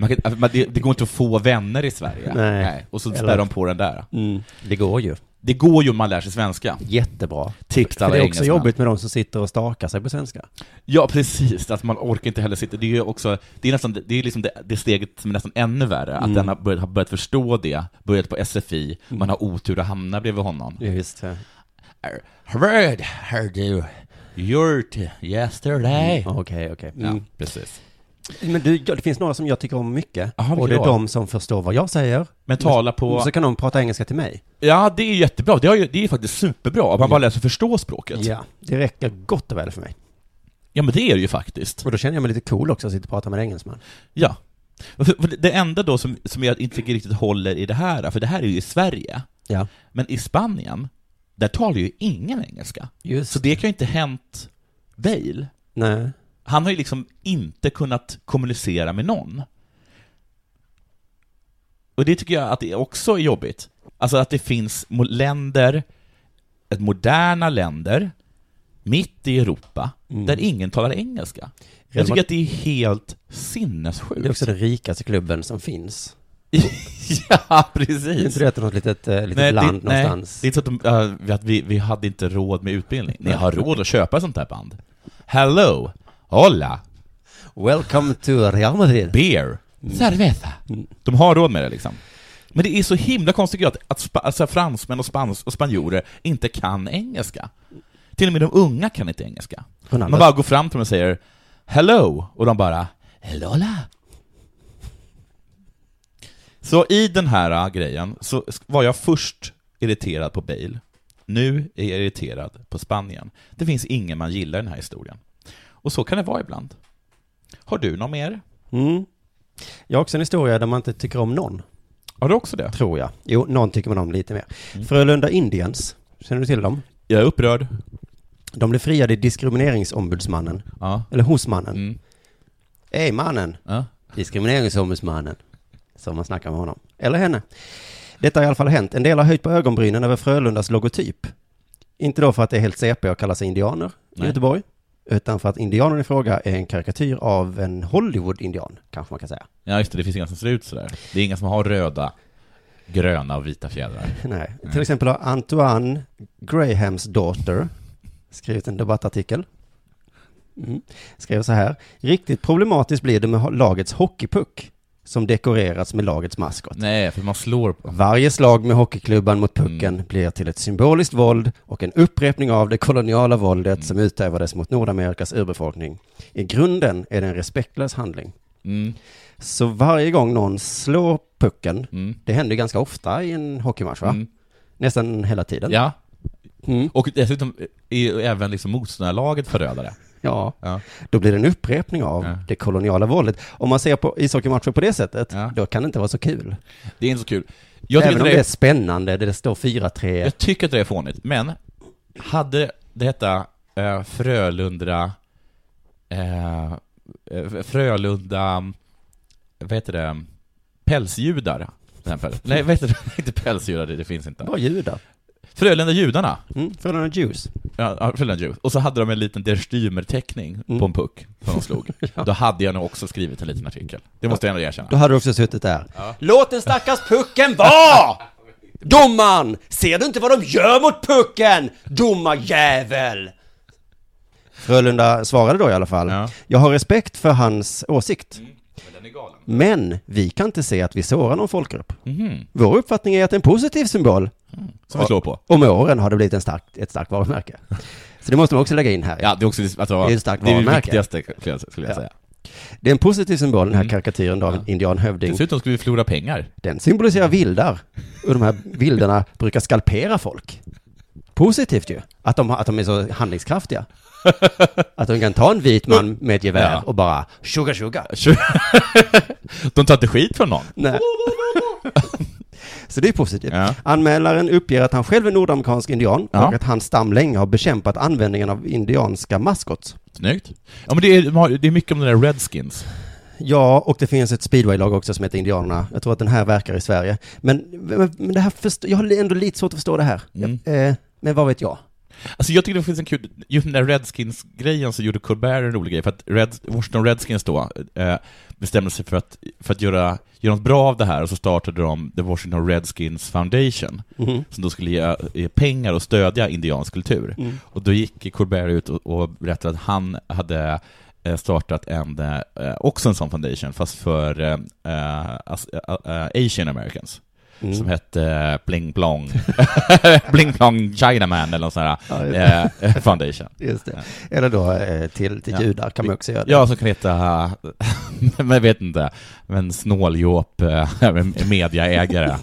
Speaker 4: Man kan, alltså, man- det, det går inte att få vänner i Sverige.
Speaker 3: Nej.
Speaker 4: Och så
Speaker 3: Eller-
Speaker 4: spär de på den där.
Speaker 3: Mm, det går ju.
Speaker 4: Det går ju om man lär sig svenska.
Speaker 3: Jättebra.
Speaker 4: Tips till
Speaker 3: För
Speaker 4: alla
Speaker 3: det är också
Speaker 4: engelsmän.
Speaker 3: jobbigt med de som sitter och stakar sig på svenska.
Speaker 4: Ja, precis. Att man orkar inte heller sitta. Det är ju också, det är nästan, det är liksom det, det steget som är nästan ännu värre, att
Speaker 3: Mm.
Speaker 4: den har börjat, har börjat förstå det, börjat på SFI, man har otur att hamna bredvid honom.
Speaker 3: Ja, visst. ja.
Speaker 4: Hörd, hör du, gjort yesterday.
Speaker 3: Mm, Okej, okej.
Speaker 4: Ja,
Speaker 3: Mm.
Speaker 4: precis.
Speaker 3: Men du, det finns några som jag tycker om mycket. och det är
Speaker 4: då?
Speaker 3: de som förstår vad jag säger.
Speaker 4: Men tala på-
Speaker 3: Mm, Så kan de prata engelska till mig.
Speaker 4: Ja, det är jättebra. Det är, ju- det är faktiskt superbra. Att man bara lär sig förstå språket.
Speaker 3: Ja, det räcker gott och väl för mig.
Speaker 4: Ja, men det är det ju faktiskt.
Speaker 3: Och då känner jag mig lite cool också, att sitta och prata med en engelsman.
Speaker 4: Ja. För- för Det enda då som, som jag inte tycker riktigt håller i det här, för det här är ju i Sverige.
Speaker 3: Ja.
Speaker 4: Men i Spanien, där talar ju ingen engelska. Så det kan ju inte hänt Bale.
Speaker 3: Nej.
Speaker 4: Han har ju liksom inte kunnat kommunicera med någon. Och det tycker jag att det också är jobbigt. Alltså att det finns mo- länder, ett moderna länder, mitt i Europa,
Speaker 3: Mm.
Speaker 4: där ingen talar engelska. Jag tycker att det är helt sinnessjukt.
Speaker 3: Det är också den rikaste klubben som finns.
Speaker 4: ja, precis.
Speaker 3: Det är inte det att det är något litet, eh, litet land
Speaker 4: nej,
Speaker 3: någonstans?
Speaker 4: Det är inte så att, de, eh, vi- att vi, vi hade inte råd med utbildning. Ni har råd att köpa sånt här band. Hello! Hola!
Speaker 3: Welcome to Real Madrid.
Speaker 4: Beer! Cerveza! De har råd med det liksom. Men det är så himla konstigt tycker jag, att, att spa, alltså, fransmän och, spans, och spanjorer inte kan engelska. Till och med de unga kan inte engelska.
Speaker 3: Ronaldo.
Speaker 4: Man bara går fram till dem och säger ”Hello” och de bara ”Hellola”. Så i den här äh, grejen så sk- var jag först irriterad på Bale. Nu är jag irriterad på Spanien. Det finns ingen man gillar i den här historien. Och så kan det vara ibland. Har du någon mer?
Speaker 3: Mm. Jag har också en historia där man inte tycker om någon.
Speaker 4: Har du också det?
Speaker 3: Tror jag. Jo, någon tycker man om lite mer. Frölunda Indians, känner du till dem?
Speaker 4: Jag är upprörd.
Speaker 3: De blev friade i diskrimineringsombudsmannen.
Speaker 4: Ja.
Speaker 3: Eller hos mannen. Ey mannen!
Speaker 4: Ja.
Speaker 3: Diskrimineringsombudsmannen. Som man snackar med honom. Eller henne. Detta har i alla fall hänt. En del har höjt på ögonbrynen över Frölundas logotyp. Inte då för att det är helt CP att kalla sig indianer i
Speaker 4: Nej.
Speaker 3: Göteborg. Utan för att indianen i fråga är en karikatyr av en Hollywood-indian, kanske man kan säga.
Speaker 4: Ja, just det. Det finns inga som ser ut sådär. Det är inga som har röda, gröna och vita fjädrar.
Speaker 3: Nej. Till exempel har Antoine Grahams daughter skrivit en debattartikel. Mm. Skrev så här. Riktigt problematiskt blir det med ho- lagets hockeypuck som dekorerats med lagets maskot.
Speaker 4: Nej, för man slår på...
Speaker 3: Varje slag med hockeyklubban mot
Speaker 4: Mm.
Speaker 3: pucken blir till ett symboliskt våld och en upprepning av det koloniala våldet
Speaker 4: Mm.
Speaker 3: som utövades mot Nordamerikas urbefolkning. I grunden är det en respektlös handling.
Speaker 4: Mm.
Speaker 3: Så varje gång någon slår pucken, det händer ju ganska ofta i en hockeymatch va?
Speaker 4: Mm.
Speaker 3: Nästan hela tiden.
Speaker 4: Ja.
Speaker 3: Mm.
Speaker 4: Och dessutom är ju även liksom motståndarlaget förrädare.
Speaker 3: Ja. Då blir det en upprepning av det koloniala våldet. Om man ser på ishockeymatcher på det sättet, då kan det inte vara så kul.
Speaker 4: Det är inte så kul. Jag tycker
Speaker 3: Även om
Speaker 4: inte
Speaker 3: det
Speaker 4: det-
Speaker 3: är spännande, det står 4-3.
Speaker 4: Jag tycker att det är fånigt, men hade det hette eh, Frölunda... Eh, eh, Frölunda... Vad heter det? Pälsjudar, till exempel. Nej, vad heter det? Inte pälsjudar, det det finns inte.
Speaker 3: Bara judar.
Speaker 4: Frölunda judarna.
Speaker 3: Mm, Frölunda Jews.
Speaker 4: Ja, ja, Frölunda Jews. Och så hade de en liten Der Stürmer-teckning på en puck som de slog. Då hade jag nog också skrivit en liten artikel. Det måste jag ändå erkänna.
Speaker 3: Då hade du också suttit där. Låt den stackars pucken vara! Domaren! Ser du inte vad de gör mot pucken? Domarjävel! Frölunda svarade då i alla fall. Jag har respekt för hans åsikt.
Speaker 4: Mm.
Speaker 3: Men vi kan inte se att vi sårar någon folkgrupp.
Speaker 4: Mhm.
Speaker 3: Vår uppfattning är att det är en positiv symbol.
Speaker 4: Som vi slår på.
Speaker 3: Och med åren har det blivit en stark, ett starkt varumärke. Så det måste man också lägga in här.
Speaker 4: Ja, det är också alltså,
Speaker 3: det är ett starkt
Speaker 4: det, är det
Speaker 3: varumärke.
Speaker 4: viktigaste, skulle jag- skulle jag
Speaker 3: Ja.
Speaker 4: säga.
Speaker 3: Det är en positiv symbol, den här
Speaker 4: Mm.
Speaker 3: karikatyren av en indianhövding.
Speaker 4: Dessutom skulle vi förlora pengar.
Speaker 3: Den symboliserar vildar. Och de här vildarna brukar skalpera folk. Positivt ju, att de, har- att de är så handlingskraftiga. Att de kan ta en vit man med ett gevär
Speaker 4: Ja.
Speaker 3: och bara sugar sugar.
Speaker 4: De tar inte skit från någon.
Speaker 3: Nej. Så det är positivt. Anmälaren uppger att han själv är nordamerikansk indian
Speaker 4: Ja.
Speaker 3: och att hans stam länge har bekämpat användningen av indianska maskots.
Speaker 4: Snyggt. Ja, men det är, de har- det är mycket om den där Redskins.
Speaker 3: Ja, och det finns ett speedwaylag också som heter Indianerna. Jag tror att den här verkar i Sverige. Men, men, men det här först- jag har ändå lite svårt att förstå det här.
Speaker 4: Mm.
Speaker 3: Eh, men vad vet jag?
Speaker 4: Alltså jag tycker det finns en kul, just den där Redskins-grejen så gjorde Colbert en rolig grej, för att Red, Washington Redskins då eh, bestämde sig för att, för att göra, göra något bra av det här, och så startade de The Washington Redskins Foundation,
Speaker 3: Mhm.
Speaker 4: som då skulle ge, ge pengar och stödja indiansk kultur.
Speaker 3: Mm.
Speaker 4: Och då gick Colbert ut och, och berättade att han hade eh, startat en, eh, också en sån foundation, fast för eh, eh, as- eh, eh, Asian Americans.
Speaker 3: Mm.
Speaker 4: som hette eh, Bling Blong, Bling Blong Chinaman eller något sånt
Speaker 3: Ja, just
Speaker 4: där,
Speaker 3: det.
Speaker 4: eh, foundation.
Speaker 3: Just det. Eller då eh, till, till
Speaker 4: Ja.
Speaker 3: judar kan man också göra det.
Speaker 4: Ja, som kan heta, men jag vet inte, men snåljåp eh, mediaägare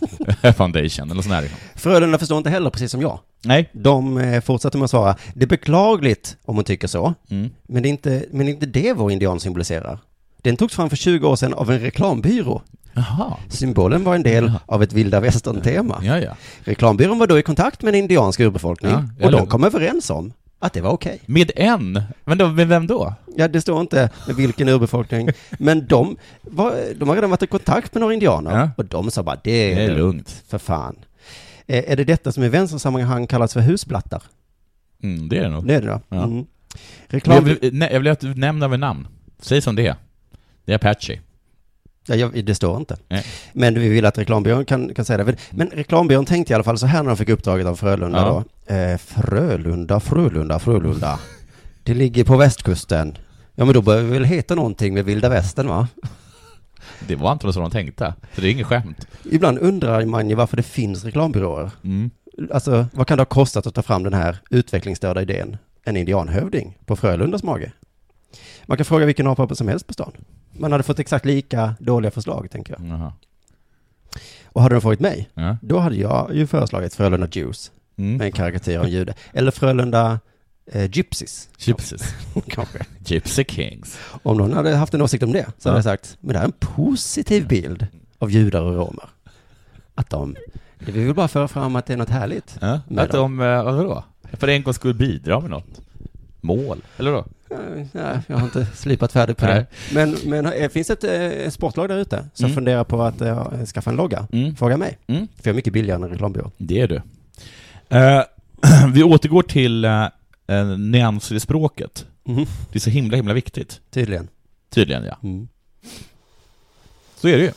Speaker 4: foundation eller sån här. liksom.
Speaker 3: Frölunda förstår inte heller, precis som jag.
Speaker 4: Nej.
Speaker 3: De eh, fortsätter med att svara, det är beklagligt om hon tycker så,
Speaker 4: Mm.
Speaker 3: men, det är inte, men det är inte det vår indian symboliserar. Den togs fram för 20 år sedan av en reklambyrå.
Speaker 4: Jaha.
Speaker 3: Symbolen var en del av ett vilda västern-tema.
Speaker 4: Ja, ja.
Speaker 3: Reklambyrån var då i kontakt med en indiansk urbefolkning
Speaker 4: Ja,
Speaker 3: och
Speaker 4: eller-
Speaker 3: de kom överens om att det var okej.
Speaker 4: Med en? Men då, med vem då?
Speaker 3: Ja, det står inte med vilken urbefolkning. Men de, var, de har redan varit i kontakt med några indianer och de sa bara det är,
Speaker 4: Det är
Speaker 3: lugnt. För fan. Eh, är det detta som i vänstersammanhang kallas för husplattar?
Speaker 4: Mm, det är det nog.
Speaker 3: Det är det då.
Speaker 4: Ja.
Speaker 3: Mm. Reklam...
Speaker 4: Men Jag, vill, nej, jag vill att du nämner vid namn. Säg som det är. Det är Apache.
Speaker 3: Ja, jag, det står inte. Men vi vill att reklambyrån kan, kan säga det. Men, men reklambyrån tänkte i alla fall så här när de fick uppdraget av Frölunda
Speaker 4: Ja.
Speaker 3: då. Eh, Frölunda, Frölunda, Frölunda. Det ligger på västkusten. Ja, men då bör vi väl heta någonting med vilda västern, va?
Speaker 4: Det var antagligen så de tänkte. Så det är inget skämt.
Speaker 3: Ibland undrar man ju varför det finns reklambyråer.
Speaker 4: Mm.
Speaker 3: Alltså, vad kan det ha kostat att ta fram den här utvecklingsstörda idén? En indianhövding på Frölundas mage. Man kan fråga vilken apa som helst på stan. Man hade fått exakt lika dåliga förslag, tänker jag. Och hade de frågat mig,
Speaker 4: Ja. Mm.
Speaker 3: då hade jag ju föreslagit Frölunda Jews. Med en karikatyr av en jude. Eller Frölunda eh, Gypsies.
Speaker 4: Gypsies.
Speaker 3: Kanske.
Speaker 4: Gypsy Kings.
Speaker 3: Om någon hade haft en åsikt om det, så hade
Speaker 4: Ja.
Speaker 3: jag sagt, men det här är en positiv bild av judar och romer. Att de, vi vill bara föra fram att det är något härligt.
Speaker 4: Ja.
Speaker 3: med
Speaker 4: Att
Speaker 3: dem.
Speaker 4: de, eh, vadå? För en gång skulle bidra med något. Mål, eller då?
Speaker 3: Nej, jag har inte slipat färdigt på
Speaker 4: Nej.
Speaker 3: det. Men, men eh, finns det ett eh, sportlag där ute som
Speaker 4: Mm.
Speaker 3: funderar på att eh, skaffa en logga? Fråga mig.
Speaker 4: Mm.
Speaker 3: För jag är mycket billigare än en reklambyrå.
Speaker 4: Det är du. Eh, vi återgår till eh, eh, nyanser i språket. Det är så himla, himla viktigt.
Speaker 3: Tydligen.
Speaker 4: Tydligen, ja. Så är det ju.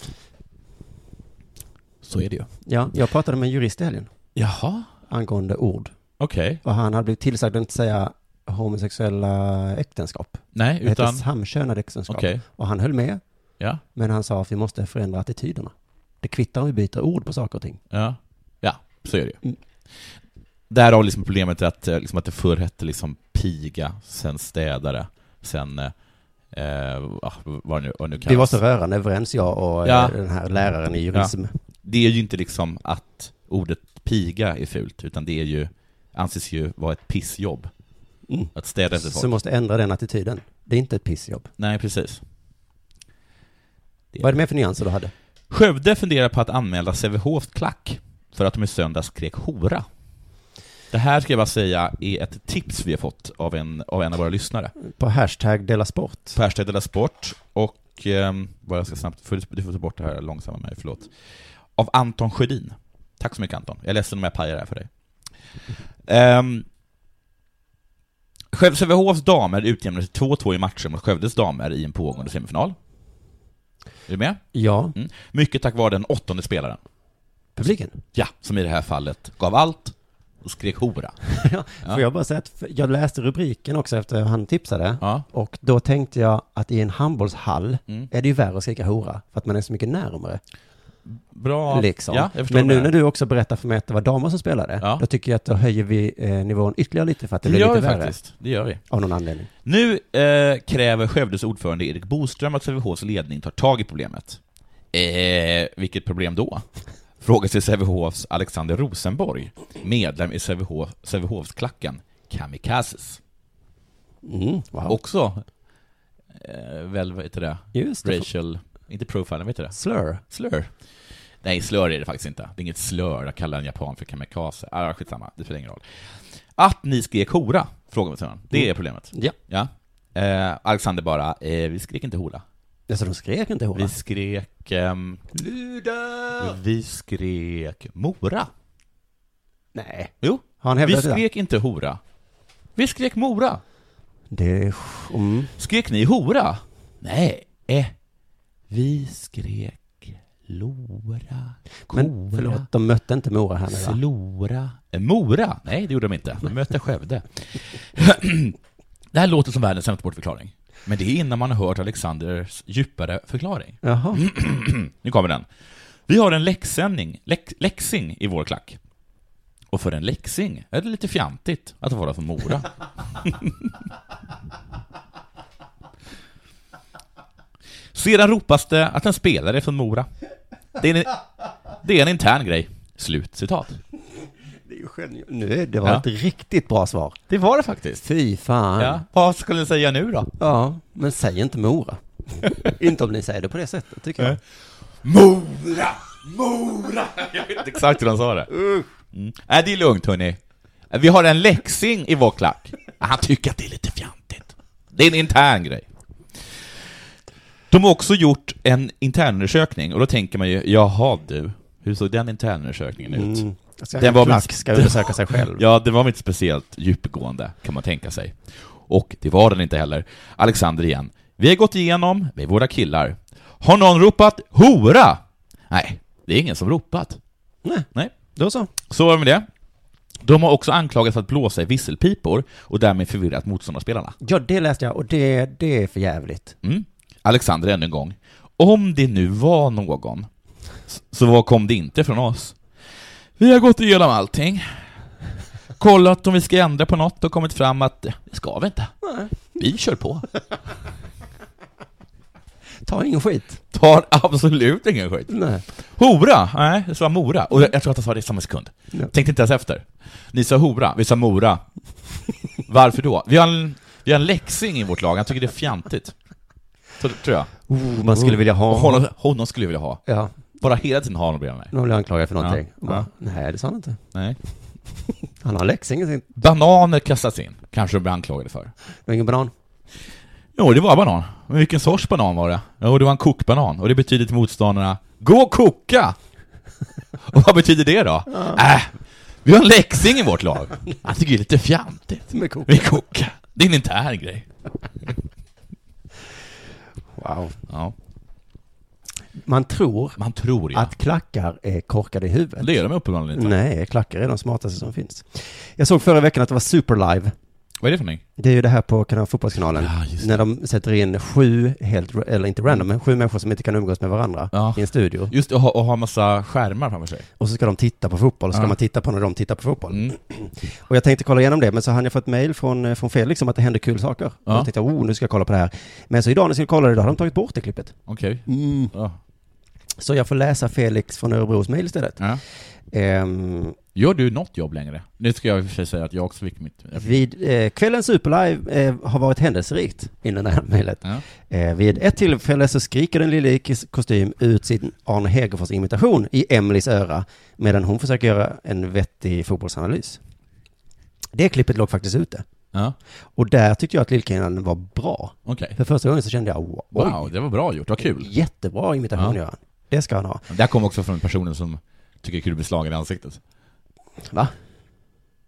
Speaker 4: Så är det ju.
Speaker 3: Ja, jag pratade med en jurist i helgen.
Speaker 4: Jaha.
Speaker 3: Angående ord.
Speaker 4: Okej.
Speaker 3: Och han hade blivit tillsagd att inte säga homosexuella äktenskap.
Speaker 4: Nej,
Speaker 3: Det
Speaker 4: utan-
Speaker 3: heter samkönade äktenskap.
Speaker 4: Okej.
Speaker 3: Och han höll med.
Speaker 4: Ja.
Speaker 3: Men han sa att vi måste förändra attityderna. Det kvittar om vi byter ord på saker och ting.
Speaker 4: Ja, ja så är det ju. Därav liksom problemet att, eh, liksom att det förr hette liksom piga, sen städare, sen... Eh, ah, vad det nu, vad det nu kallas.
Speaker 3: Vi var så rörande överens, jag och eh,
Speaker 4: Ja.
Speaker 3: den här läraren i jurism.
Speaker 4: Ja. Det är ju inte liksom att ordet piga är fult, utan det är ju, anses ju vara ett pissjobb.
Speaker 3: Mm.
Speaker 4: Att städa efter folk.
Speaker 3: Så måste ändra den attityden. Det är inte ett pissjobb.
Speaker 4: Nej, precis.
Speaker 3: Vad är det mer för nyanser du hade?
Speaker 4: Skövde funderar på att anmäla Sävehofs klack för att de i söndags skrek hora. Det här ska jag bara säga är ett tips vi har fått av en av, en av våra lyssnare.
Speaker 3: På hashtag Della Sport.
Speaker 4: På hashtag Della Sport och, ehm, vad jag ska snabbt, för, du får ta bort det här långsamma mig, förlåt. Av Anton Sjödin. Tack så mycket Anton, jag är ledsen om jag pajar det här för dig. Um, Sävehofs damer utjämnade till 2-2 i matchen mot Skövdes damer i en pågående semifinal. Är du med?
Speaker 3: Ja.
Speaker 4: Mm. Mycket tack vare den åttonde spelaren.
Speaker 3: Publiken?
Speaker 4: Ja, som i det här fallet gav allt och skrek hora. ja,
Speaker 3: Får jag bara säga att för- jag läste rubriken också efter han tipsade. Och då tänkte jag att i en handbollshall
Speaker 4: Mm.
Speaker 3: är det ju värre att skrika hora. För att man är så mycket närmare.
Speaker 4: Bra.
Speaker 3: Liksom.
Speaker 4: Ja, jag förstår
Speaker 3: Men
Speaker 4: det
Speaker 3: nu
Speaker 4: här.
Speaker 3: när du också berättar för mig att det var damer som spelade.
Speaker 4: Ja.
Speaker 3: Då tycker jag att då höjer vi eh, nivån ytterligare lite för att det,
Speaker 4: Det
Speaker 3: blir
Speaker 4: gör
Speaker 3: lite
Speaker 4: vi
Speaker 3: värre.
Speaker 4: faktiskt. Det gör vi.
Speaker 3: Av någon anledning.
Speaker 4: Nu eh, kräver Skövdes ordförande Erik Boström att Sävehofs ledning tar tag i problemet. Eh, vilket problem då? Frågar sig Sävehofs Alexander Rosenborg, medlem i Sävehof, Sävehofsklacken Kamikazes.
Speaker 3: Mm, wow.
Speaker 4: Också, eh, väl, vad heter det?
Speaker 3: Just det.
Speaker 4: Racial, inte profiling, vad heter det?
Speaker 3: Slur.
Speaker 4: Slur. Nej, slur är det faktiskt inte. Det är inget slur att kalla en japan för kamikaze. Ah, skitsamma, det spelar ingen roll. Att ni skrek hora, frågar man sig. Det är
Speaker 3: Mm.
Speaker 4: problemet.
Speaker 3: Ja.
Speaker 4: Eh, Alexander bara, eh, vi skrek inte hora.
Speaker 3: Alltså de skrek inte hora.
Speaker 4: Vi skrek... ehm, Vi skrek mora.
Speaker 3: Nej.
Speaker 4: Jo.
Speaker 3: Har han
Speaker 4: vi
Speaker 3: hävdat det?
Speaker 4: skrek inte hora. Vi skrek mora.
Speaker 3: Det är... Mm.
Speaker 4: Skrek ni hora? Nej. Eh. Vi skrek lora.
Speaker 3: Men förlåt, de mötte inte Mora här nu va?
Speaker 4: Slora. Eh, Mora? Nej, det gjorde de inte. De mötte Skövde. det här låter som världens sämsta bortförklaring. Men det är innan man har hört Alexanders djupare förklaring.
Speaker 3: Jaha.
Speaker 4: nu kommer den. Vi har en läxänning, läx, läxing i vår klack. Och för en läxing är det lite fjantigt att vara från Mora. Sedan ropas det att en spelare är från Mora. Det är en, det är en intern grej. Slut citat.
Speaker 3: Det är ju genialt. Nu, det var
Speaker 4: Ja.
Speaker 3: ett riktigt bra svar.
Speaker 4: Det var det faktiskt.
Speaker 3: Fy fan.
Speaker 4: Ja. Vad skulle ni säga nu då?
Speaker 3: Ja, men säg inte Mora. inte om ni säger det på det sättet, tycker jag.
Speaker 4: Mora! Mora! Jag vet exakt hur de sa det. Mm. Nej, det är lugnt hörni. Vi har en läxing i vår klack. Han tycker att det är lite fjantigt. Det är en intern grej. De har också gjort en internundersökning och då tänker man ju, jaha du, hur såg den internundersökningen ut?
Speaker 3: Mm. Alltså, klack ska undersöka sig själv.
Speaker 4: ja, det var väl inte speciellt djupgående, kan man tänka sig. Och det var den inte heller. Alexander igen. Vi har gått igenom, vi är våra killar. Har någon ropat ”hora”? Nej, det är ingen som ropat.
Speaker 3: Nej.
Speaker 4: Nej.
Speaker 3: Då så.
Speaker 4: Så var det med det. De har också anklagats för att blåsa i visselpipor och därmed förvirrat motståndarspelarna.
Speaker 3: Ja, det läste jag och det, det är för jävligt.
Speaker 4: Mm. Alexander ännu en gång. Om det nu var någon, s- så vad kom det inte från oss? Vi har gått igenom allting, kollat om vi ska ändra på något och kommit fram att eh, det ska vi inte. Vi kör på.
Speaker 3: Ta ingen skit.
Speaker 4: Tar absolut ingen skit.
Speaker 3: Nej.
Speaker 4: Hora? Nej, jag sa Mora. Och jag jag tror att jag sa det i samma sekund. Tänkte inte ens efter. Ni sa hora, vi sa Mora. Varför då? Vi har en, vi har en läxing i vårt lag, han tycker det är fjantigt. Tror tror jag.
Speaker 3: Oh, man skulle vilja ha
Speaker 4: Och honom. Honom skulle jag vilja ha.
Speaker 3: Ja.
Speaker 4: Bara hela tiden ha honom bredvid mig.
Speaker 3: Någon blir anklagad för någonting.
Speaker 4: Ja.
Speaker 3: Bara,
Speaker 4: Ja.
Speaker 3: Nej, det sa han inte.
Speaker 4: Nej.
Speaker 3: Han har en läxing i sin...
Speaker 4: Bananer kastas in, kanske de blir anklagade för.
Speaker 3: Det var ingen banan.
Speaker 4: Jo, det var banan. Men vilken sorts banan var det? Jo, det var en kokbanan. Och det betyder till motståndarna, gå och koka! och vad betyder det då? Äh, vi har en läxing i vårt lag. Han tycker det är lite fjantigt.
Speaker 3: Med koka.
Speaker 4: Vi kokar. Det är en intern grej.
Speaker 3: Wow.
Speaker 4: Ja,
Speaker 3: Man tror,
Speaker 4: man tror ja.
Speaker 3: att klackar är korkade i huvudet.
Speaker 4: Det är de uppenbarligen inte.
Speaker 3: Nej, klackar är de smartaste som finns. Jag såg förra veckan att det var Superlive.
Speaker 4: Vad är det för någonting?
Speaker 3: Det är ju det här på kanal, fotbollskanalen.
Speaker 4: Ja, just
Speaker 3: när de sätter in sju, helt, eller inte random, men sju människor som inte kan umgås med varandra
Speaker 4: Ja.
Speaker 3: i en studio.
Speaker 4: Just det, och ha, och ha massa skärmar framför sig.
Speaker 3: Och så ska de titta på fotboll, och så ska
Speaker 4: Ja. Mm.
Speaker 3: man titta på när de tittar på fotboll. Och jag tänkte kolla igenom det, men så hann jag få ett mejl från, eh, från Felix om att det hände kul saker.
Speaker 4: Ja.
Speaker 3: Och jag tänkte, oh, nu ska jag kolla på det här. Men så idag när jag skulle kolla det, då hade de tagit bort det klippet.
Speaker 4: Okej.
Speaker 3: Mm.
Speaker 4: Ja.
Speaker 3: Så jag får läsa Felix från Örebros mejl istället.
Speaker 4: Ja.
Speaker 3: Ehm,
Speaker 4: Gör du något jobb längre? Nu ska jag i och för sig säga att jag också fick mitt... jag fick-
Speaker 3: Vid eh, kvällens superlive eh, har varit händelserikt, innan det här mejlet.
Speaker 4: Ja.
Speaker 3: Eh, vid ett tillfälle så skriker den lille i kis- kostym ut sin Arne Hegerfors-imitation i Emelies öra, medan hon försöker göra en vettig fotbollsanalys. Det klippet låg faktiskt ute.
Speaker 4: Ja.
Speaker 3: Och där tyckte jag att Lillkillen var bra.
Speaker 4: Okej.
Speaker 3: För första gången så kände jag, wow,
Speaker 4: Wow, det var bra gjort. Vad kul.
Speaker 3: jättebra
Speaker 4: Ja.
Speaker 3: imitation gör han. Det ska han ha.
Speaker 4: Det här kom också från personen som tycker det är kul att bli slagen i ansiktet.
Speaker 3: Va?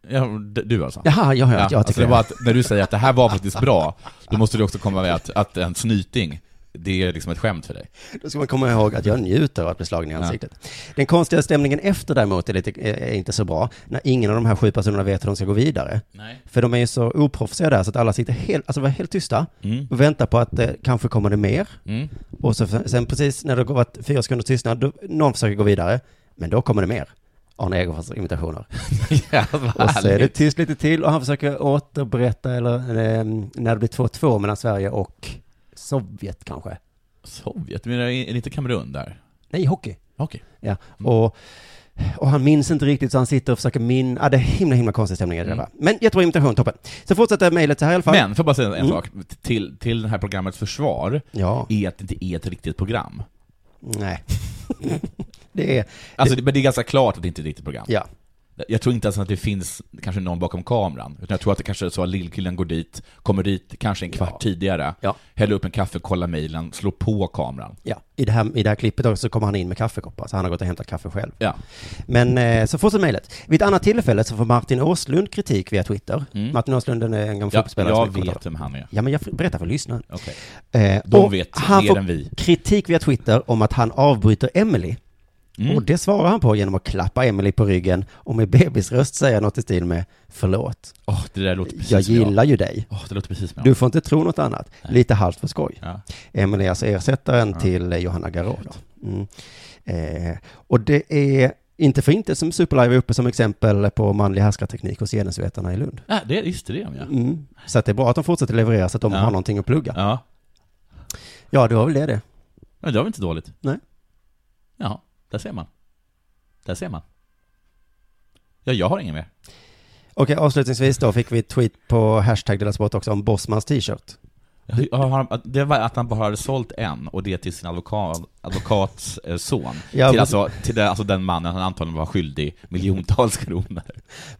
Speaker 4: Ja, d- du alltså?
Speaker 3: Jaha, ja, ja, jag tycker
Speaker 4: alltså det
Speaker 3: det.
Speaker 4: var att när du säger att det här var faktiskt bra, då måste du också komma med att, att en snyting, det är liksom ett skämt för dig.
Speaker 3: Då ska man komma ihåg att jag njuter av att bli slagen i ansiktet. Den konstiga stämningen efter däremot är, lite, är inte så bra, när ingen av de här sju personerna vet hur de ska gå vidare.
Speaker 4: Nej.
Speaker 3: För de är ju så oproffsiga där, så att alla sitter helt, alltså var helt tysta
Speaker 4: Mm.
Speaker 3: och väntar på att eh, kanske kommer det mer.
Speaker 4: Mm.
Speaker 3: Och så, sen precis när det har varit fyra sekunders tystnad, då, någon försöker gå vidare, men då kommer det mer. Arne Egerfors imitationer.
Speaker 4: Ja, vad
Speaker 3: Och så är det
Speaker 4: härligt.
Speaker 3: tyst lite till och han försöker återberätta, eller eh, när det blir 2-2 mellan Sverige och Sovjet kanske.
Speaker 4: Sovjet, men är det inte Kamerun där?
Speaker 3: Nej, hockey.
Speaker 4: Okej.
Speaker 3: Ja,
Speaker 4: Mm.
Speaker 3: och, och han minns inte riktigt så han sitter och försöker min... Ja, det är himla, himla konstig stämning i det där va. Men jättebra imitation, toppen. Så fortsätter mejlet så här i alla fall.
Speaker 4: Mm. Men, får jag bara säga en
Speaker 3: Mm.
Speaker 4: sak? Till, till det här programmets försvar,
Speaker 3: Ja.
Speaker 4: är att det inte är ett riktigt program.
Speaker 3: Nej. det är...
Speaker 4: Alltså, det, men det är ganska klart att det inte är ett riktigt program.
Speaker 3: Ja.
Speaker 4: Jag tror inte ens att det finns kanske någon bakom kameran, utan jag tror att det kanske är så att lillkillen går dit, kommer dit kanske en kvart tidigare,
Speaker 3: Ja.
Speaker 4: häller upp en kaffe, kollar mejlen, slår på kameran.
Speaker 3: Ja, i det, här, i det här klippet också så kommer han in med kaffekoppar, så han har gått och hämtat kaffe själv.
Speaker 4: Ja.
Speaker 3: Men eh, så fortsätter mejlet. Vid ett annat tillfälle så får Martin Åslund kritik via Twitter.
Speaker 4: Mm.
Speaker 3: Martin Åslund den är en gammal
Speaker 4: Ja,
Speaker 3: fotbollsspelare. som är
Speaker 4: jag
Speaker 3: kommentator.
Speaker 4: vet vem han är.
Speaker 3: Ja, men jag f- berättar för lyssnaren.
Speaker 4: Okej.
Speaker 3: Eh,
Speaker 4: De
Speaker 3: och
Speaker 4: vet
Speaker 3: han
Speaker 4: mer
Speaker 3: får
Speaker 4: än vi.
Speaker 3: kritik via Twitter om att han avbryter Emily.
Speaker 4: Mm.
Speaker 3: Och det svarar han på genom att klappa Emily på ryggen och med bebisröst säga något i stil med Förlåt,
Speaker 4: Åh, det där låter precis
Speaker 3: jag
Speaker 4: som
Speaker 3: gillar ju dig.
Speaker 4: Åh, det låter precis som jag.
Speaker 3: Du får inte tro något annat. Lite halvt för skoj.
Speaker 4: Ja.
Speaker 3: Emily är alltså ersättaren till eh, Johanna Garot. Mm. Eh, och det är inte för inte som Superlive är uppe som exempel på manlig härskarteknik hos genusvetarna i Lund.
Speaker 4: Nej, det är just det, ja.
Speaker 3: Mm. Så att det är bra att de fortsätter leverera så att de
Speaker 4: Ja.
Speaker 3: har någonting att plugga.
Speaker 4: Ja.
Speaker 3: ja, det var väl det det.
Speaker 4: Nej, det var väl inte dåligt?
Speaker 3: Nej.
Speaker 4: Ja, där ser man. Där ser man. Ja, jag har ingen mer.
Speaker 3: Okej, avslutningsvis då fick vi ett tweet på hashtag Dela Sport också om Bossmans t-shirt.
Speaker 4: Ja, har han- Det var att han bara hade sålt en, och det till sin advokat, advokats eh, son.
Speaker 3: Ja,
Speaker 4: till
Speaker 3: men-
Speaker 4: alltså, till den, alltså den mannen han antagligen var skyldig miljontals kronor.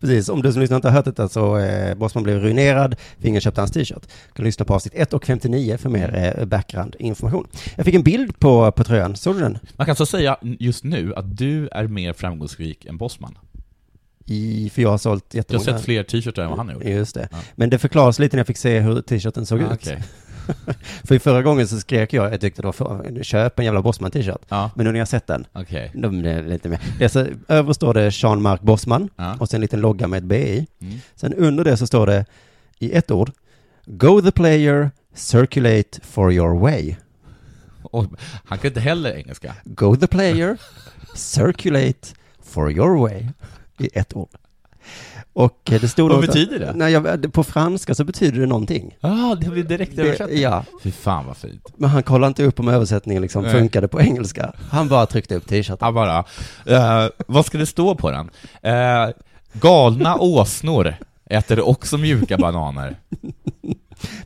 Speaker 3: Precis, om du som lyssnar inte har hört detta så eh, Bossman blev ruinerad, för ingen köpte hans t-shirt. Du kan lyssna på avsnitt 1 och 59 för mer eh, background-information. Jag fick en bild på, på tröjan, såg du den?
Speaker 4: Man kan så säga just nu att du är mer framgångsrik än Bossman.
Speaker 3: I, för jag har sålt
Speaker 4: Jag
Speaker 3: jättemånga.
Speaker 4: har sett fler t-shirtar än vad han har gjort.
Speaker 3: Just det. Men det förklaras lite när jag fick se hur t-shirten såg
Speaker 4: Ah,
Speaker 3: ut.
Speaker 4: okej.
Speaker 3: för i förra gången så skrek jag, jag tyckte det var för, köp en jävla Bossman t-shirt. Men nu när jag har sett den,
Speaker 4: Okej.
Speaker 3: då blir det eh, lite mer. Det är så, över står det Jean-Marc Bossman och sen en liten logga med ett B i. Sen under det så står det i ett ord, Go the player, circulate for your way.
Speaker 4: Och han kan inte heller engelska.
Speaker 3: Go the player, circulate for your way. I ett ord. Och eh, det stod
Speaker 4: Vad
Speaker 3: någonstans-
Speaker 4: betyder det?
Speaker 3: Nej, jag, eh, på franska så betyder det någonting.
Speaker 4: Ja, ah, det blir direkt
Speaker 3: Det-
Speaker 4: översatt.
Speaker 3: ja.
Speaker 4: Fy fan vad fint.
Speaker 3: Men han kollade inte upp om översättningen liksom
Speaker 4: Nej.
Speaker 3: funkade på engelska. Han bara tryckte upp t-shirten.
Speaker 4: Han bara, eh, vad ska det stå på den? Eh, galna åsnor äter också mjuka bananer.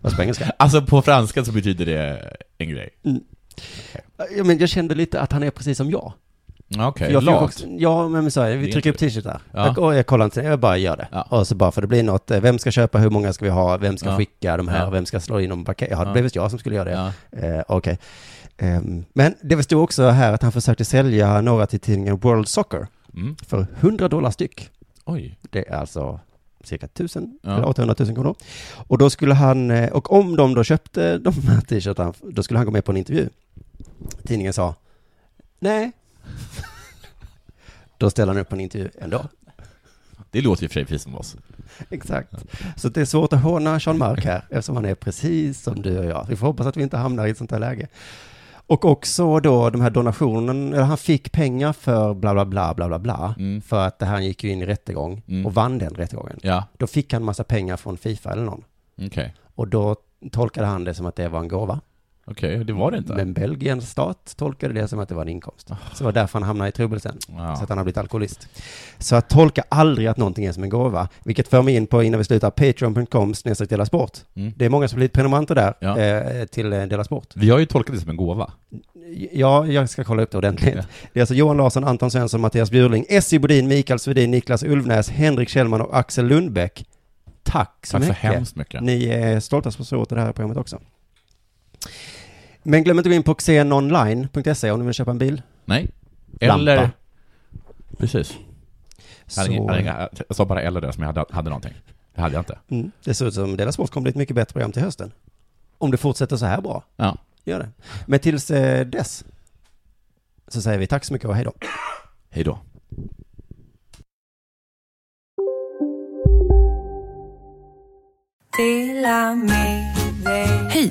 Speaker 3: Fast på engelska.
Speaker 4: Alltså på franska så betyder det en grej.
Speaker 3: Mm. Ja, men jag kände lite att han är precis som jag.
Speaker 4: Ja, Okej,
Speaker 3: jag fick
Speaker 4: lat.
Speaker 3: också- Ja, men så här,
Speaker 4: Det är
Speaker 3: vi trycker upp
Speaker 4: inte-
Speaker 3: t-shirtar.
Speaker 4: Ja.
Speaker 3: Jag, och jag kollar inte, jag bara gör det. Och så bara för det blir något, eh, vem ska köpa, hur många ska vi ha, vem ska
Speaker 4: Ja.
Speaker 3: skicka de här,
Speaker 4: Ja.
Speaker 3: vem ska slå in dem paket. Ja, det
Speaker 4: Ja.
Speaker 3: blev visst jag som skulle göra det. Eh, Okej. Ehm, men det stod också här att han försökte sälja några till tidningen World Soccer
Speaker 4: Mm.
Speaker 3: för 100 dollar styck.
Speaker 4: Oj.
Speaker 3: Det är alltså cirka 1000
Speaker 4: Ja.
Speaker 3: eller 800 000 kronor. Och då skulle han, eh, och om de då köpte de här t-shirtarna, då skulle han gå med på en intervju. Tidningen sa, nej. då ställer han upp på en intervju ändå.
Speaker 4: Det låter ju för sig precis som oss.
Speaker 3: Exakt. Så det är svårt att håna Jean-Marc här, eftersom han är precis som du och jag. Vi får hoppas att vi inte hamnar i ett sånt här läge. Och också då de här donationen, eller han fick pengar för bla bla bla bla bla bla, för att det här gick ju in i rättegång
Speaker 4: Mm.
Speaker 3: och vann den rättegången.
Speaker 4: Ja.
Speaker 3: Då fick han massa pengar från Fifa eller någon.
Speaker 4: Okej,
Speaker 3: Och då tolkade han det som att det var en gåva.
Speaker 4: okej, det var det inte. Ah.
Speaker 3: Men Belgiens stat tolkade det som att det var en inkomst. Så det var därför han hamnade i trubbel sen.
Speaker 4: Ja.
Speaker 3: Så att han har blivit alkoholist. Så att tolka aldrig att någonting är som en gåva. Vilket för mig in på, innan vi slutar, patreon.com snedstreck Dela Sport.
Speaker 4: Mm.
Speaker 3: Det är många som har blivit prenumeranter där
Speaker 4: Ja.
Speaker 3: eh, till eh, Dela Sport.
Speaker 4: Vi har ju tolkat det som en gåva.
Speaker 3: Ja, jag ska kolla upp det ordentligt. Det är alltså Johan Larsson, Anton Svensson, Mattias Bjurling, S.J. Bodin, Mikael Svedin, Niklas Ulvnäs, Henrik Kjellman och Axel Lundbäck. Tack
Speaker 4: Tack
Speaker 3: så
Speaker 4: så
Speaker 3: mycket.
Speaker 4: hemskt mycket.
Speaker 3: Ni är stolta sponsorer till det här programmet också. Men glöm inte att gå in på xenonline.se om ni vill köpa en bil.
Speaker 4: Nej.
Speaker 3: Lampa.
Speaker 4: Eller... Precis. Jag, hade
Speaker 3: Så-
Speaker 4: ingen, jag, hade inga, jag sa bara eller där som jag hade, hade någonting. Det hade jag inte.
Speaker 3: Mm. Det ser ut som Dela Sport kommer bli ett mycket bättre program till hösten. Om det fortsätter så här bra.
Speaker 4: Ja.
Speaker 3: Gör det. Men tills eh, dess så säger vi tack så mycket och hej då.
Speaker 4: Hej då.
Speaker 9: Hej!